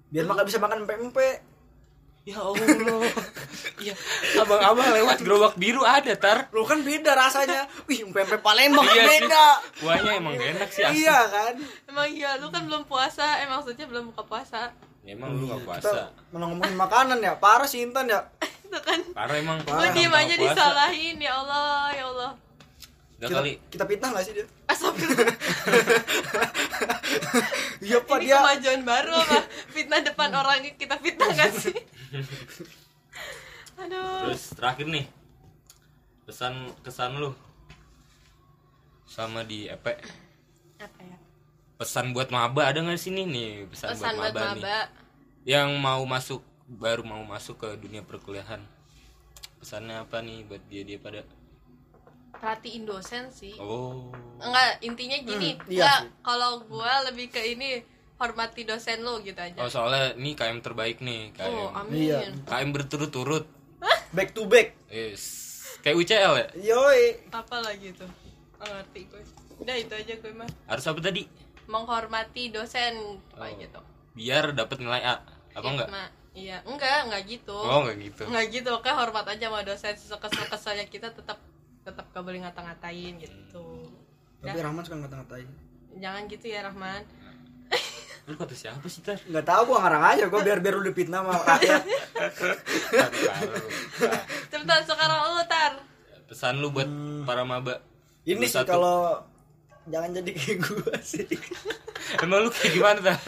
Speaker 3: Biar makan bisa makan pempek.
Speaker 1: ya Allah
Speaker 2: Iya.
Speaker 1: ya abang-abang lewat gerobak biru ada tar
Speaker 3: Lu kan beda rasanya. Wih, pempek Palembang
Speaker 1: Iya sih.
Speaker 3: beda.
Speaker 1: buahnya emang gak enak sih asli.
Speaker 3: Iya kan?
Speaker 2: Emang iya, lu kan belum puasa, eh maksudnya belum buka puasa.
Speaker 1: emang lu gak puasa
Speaker 3: Kita malah ngomongin makanan ya, parah sih Intan ya.
Speaker 2: Itu kan
Speaker 1: parah emang
Speaker 2: lu
Speaker 3: Parah,
Speaker 2: diem
Speaker 1: Nggak
Speaker 2: aja
Speaker 1: Ah, puasa.
Speaker 2: disalahin ya Allah, ya Allah.
Speaker 1: udah
Speaker 3: Kita,
Speaker 1: kali
Speaker 3: kita fitnah gak sih dia?
Speaker 2: Astagfirullah.
Speaker 3: Iya pak
Speaker 2: ini
Speaker 3: dia. Iya.
Speaker 2: kemajuan baru apa fitnah depan orang kita fitnah gak sih aduh
Speaker 1: terus terakhir nih pesan kesan lu sama di EP
Speaker 2: apa ya
Speaker 1: pesan buat maba ada nggak sini nih pesan,
Speaker 2: pesan
Speaker 1: buat
Speaker 2: buat
Speaker 1: maba, nih
Speaker 2: maba
Speaker 1: yang mau masuk baru mau masuk ke dunia perkuliahan pesannya apa nih buat dia dia pada
Speaker 2: perhatiin dosen sih
Speaker 1: oh
Speaker 2: enggak intinya gini
Speaker 3: Hmm, iya
Speaker 2: enggak
Speaker 3: sih.
Speaker 2: kalau gua lebih ke ini hormati dosen lo gitu
Speaker 1: oh
Speaker 2: aja
Speaker 1: soalnya ini KM terbaik nih KM
Speaker 2: oh
Speaker 3: Iya.
Speaker 2: amin
Speaker 1: KM berturut-turut
Speaker 3: Back to back.
Speaker 1: yes kayak UCL ya
Speaker 3: Yoi.
Speaker 2: apa lagi tuh Nggak ngerti gue udah itu aja gue mah
Speaker 1: harus apa tadi
Speaker 2: menghormati dosen kayak
Speaker 1: Oh.
Speaker 2: gitu
Speaker 1: biar dapat nilai A apa
Speaker 2: Iya,
Speaker 1: enggak
Speaker 2: Ma. iya enggak enggak gitu
Speaker 1: oh enggak gitu
Speaker 2: nggak gitu pokoknya hormat aja sama dosen kesel keselnya kita tetap tetap gak boleh ngata-ngatain gitu
Speaker 1: Hmm. Ya.
Speaker 3: Tapi Rahman suka ngata-ngatain.
Speaker 2: jangan gitu ya Rahman
Speaker 1: lu kata siapa sih tar
Speaker 3: Nggak tahu gua ngarang aja, gua biar biar lu dipitnah sama rakyat.
Speaker 1: Tar, tar, tar.
Speaker 2: itu Cepetan sekarang lu tar.
Speaker 1: Pesan lu buat para maba.
Speaker 3: Hmm. Ini sih
Speaker 1: 21.
Speaker 3: kalau jangan jadi kayak gua sih.
Speaker 1: Emang lu kayak gimana tar?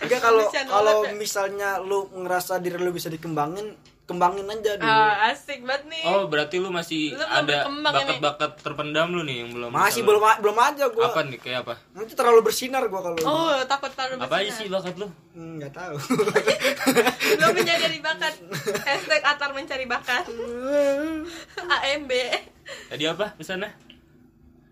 Speaker 3: Enggak kalau
Speaker 2: Bercanda
Speaker 3: kalau
Speaker 2: banget ya.
Speaker 3: misalnya lu ngerasa diri lu bisa dikembangin, kembangin aja dulu.
Speaker 2: Ah, asik banget nih.
Speaker 1: Iya. Oh berarti lu masih
Speaker 2: Lu belum
Speaker 1: ada
Speaker 2: berkembang
Speaker 1: bakat-bakat terpendam lu nih yang belum.
Speaker 3: Masih
Speaker 1: belum.
Speaker 3: belum belum aja gua.
Speaker 1: Apa nih kayak apa?
Speaker 3: Nanti terlalu bersinar gua kalau.
Speaker 2: Oh, takut terlalu
Speaker 1: Apa aja
Speaker 2: bersinar.
Speaker 1: sih bakat lu?
Speaker 3: Hmm, nggak tahu.
Speaker 2: Belum menyadari bakat. Hashtag Atar mencari bakat. AMB.
Speaker 1: Tadi apa pesannya?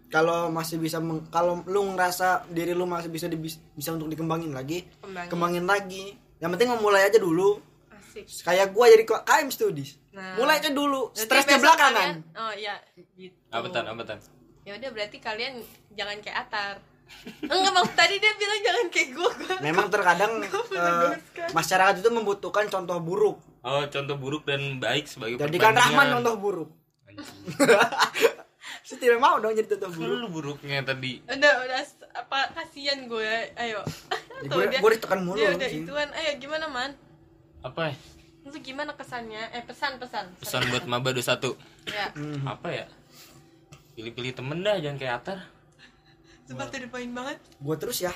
Speaker 3: kalau masih bisa meng- kalau lu ngerasa diri lu masih bisa di- bisa untuk dikembangin lagi,
Speaker 2: Kembangin.
Speaker 3: kembangin lagi. Yang penting memulai aja dulu.
Speaker 2: Asik.
Speaker 3: Kayak gua jadi ko- KM Studies.
Speaker 2: Nah.
Speaker 3: Mulai aja dulu.
Speaker 2: Berarti
Speaker 3: Stres di
Speaker 2: besok
Speaker 3: belakangan.
Speaker 2: kalian- Oh iya, gitu.
Speaker 1: Apa tan? Apa tan?
Speaker 2: Ya udah berarti kalian jangan kayak Atar. Enggak maksud tadi dia bilang jangan kayak gua. gua.
Speaker 3: Memang terkadang eh, masyarakat itu membutuhkan contoh buruk.
Speaker 1: Oh contoh buruk dan baik sebagai
Speaker 3: Jadikan Rahman
Speaker 1: perbandingan.
Speaker 3: contoh buruk. Saya tidak mau dong jadi contoh buruk.
Speaker 1: Lu buruknya tadi.
Speaker 2: Udah udah s- apa kasihan gue. Ayo.
Speaker 3: Ya, gue- gue ditekan mulu
Speaker 2: Dia udah
Speaker 3: sih.
Speaker 2: ituan. Ayo gimana, Man?
Speaker 1: Apa ya?
Speaker 2: Itu gimana kesannya? Eh, pesan-pesan.
Speaker 1: Pesan buat maba 21.
Speaker 2: Ya.
Speaker 3: Mhm.
Speaker 1: Apa ya? Pilih-pilih temen dah jangan kayak Atar.
Speaker 2: Sumpah tuh dipoin banget.
Speaker 3: Gue terus ya.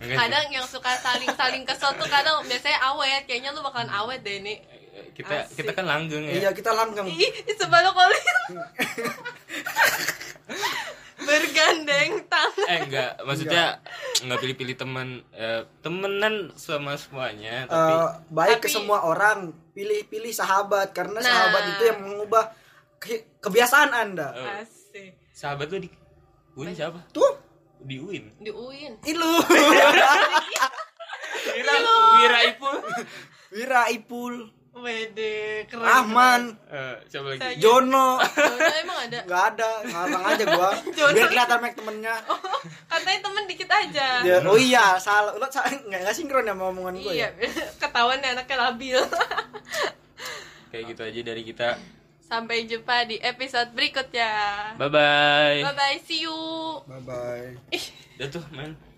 Speaker 1: Enggak,
Speaker 2: Kadang yang suka saling-saling kesel tuh kadang biasanya awet. Kayaknya lu bakalan awet deh ini.
Speaker 1: kita
Speaker 2: Asik.
Speaker 1: kita kan langgeng ya.
Speaker 3: Iya, kita langgeng.
Speaker 2: Ih, sebalik kali. Bergandeng tangan.
Speaker 1: Eh enggak, maksudnya enggak pilih-pilih teman eh, temenan sama semuanya tapi
Speaker 3: Eh, baik ke
Speaker 2: Tapi-
Speaker 3: semua orang pilih-pilih sahabat karena
Speaker 2: Nah.
Speaker 3: sahabat itu yang mengubah ke- kebiasaan anda
Speaker 1: Oh.
Speaker 2: Asik.
Speaker 1: sahabat lu di Uin siapa?
Speaker 3: tuh
Speaker 1: Di Uin.
Speaker 2: Di UIN.
Speaker 3: ilu
Speaker 1: Wira, Wira Ipul.
Speaker 3: Wira Ipul
Speaker 2: Wede, keren.
Speaker 3: Rahman
Speaker 1: Eh, siapa lagi?
Speaker 2: Saya-
Speaker 3: Jono
Speaker 2: Jono emang ada.
Speaker 3: nggak ada ngarang aja gua
Speaker 2: Jono. Oh.
Speaker 3: biar kelihatan make temennya
Speaker 2: Katanya temen dikit aja.
Speaker 3: Ya, oh iya salah lo salah- nggak nggak sinkron ya sama omongan gue
Speaker 2: Iya, ketahuan nih anaknya labil.
Speaker 1: Kayak gitu aja dari kita.
Speaker 2: Sampai jumpa di episode berikutnya.
Speaker 1: Bye bye.
Speaker 2: Bye bye, see you.
Speaker 3: bye bye
Speaker 1: Udah tuh, main.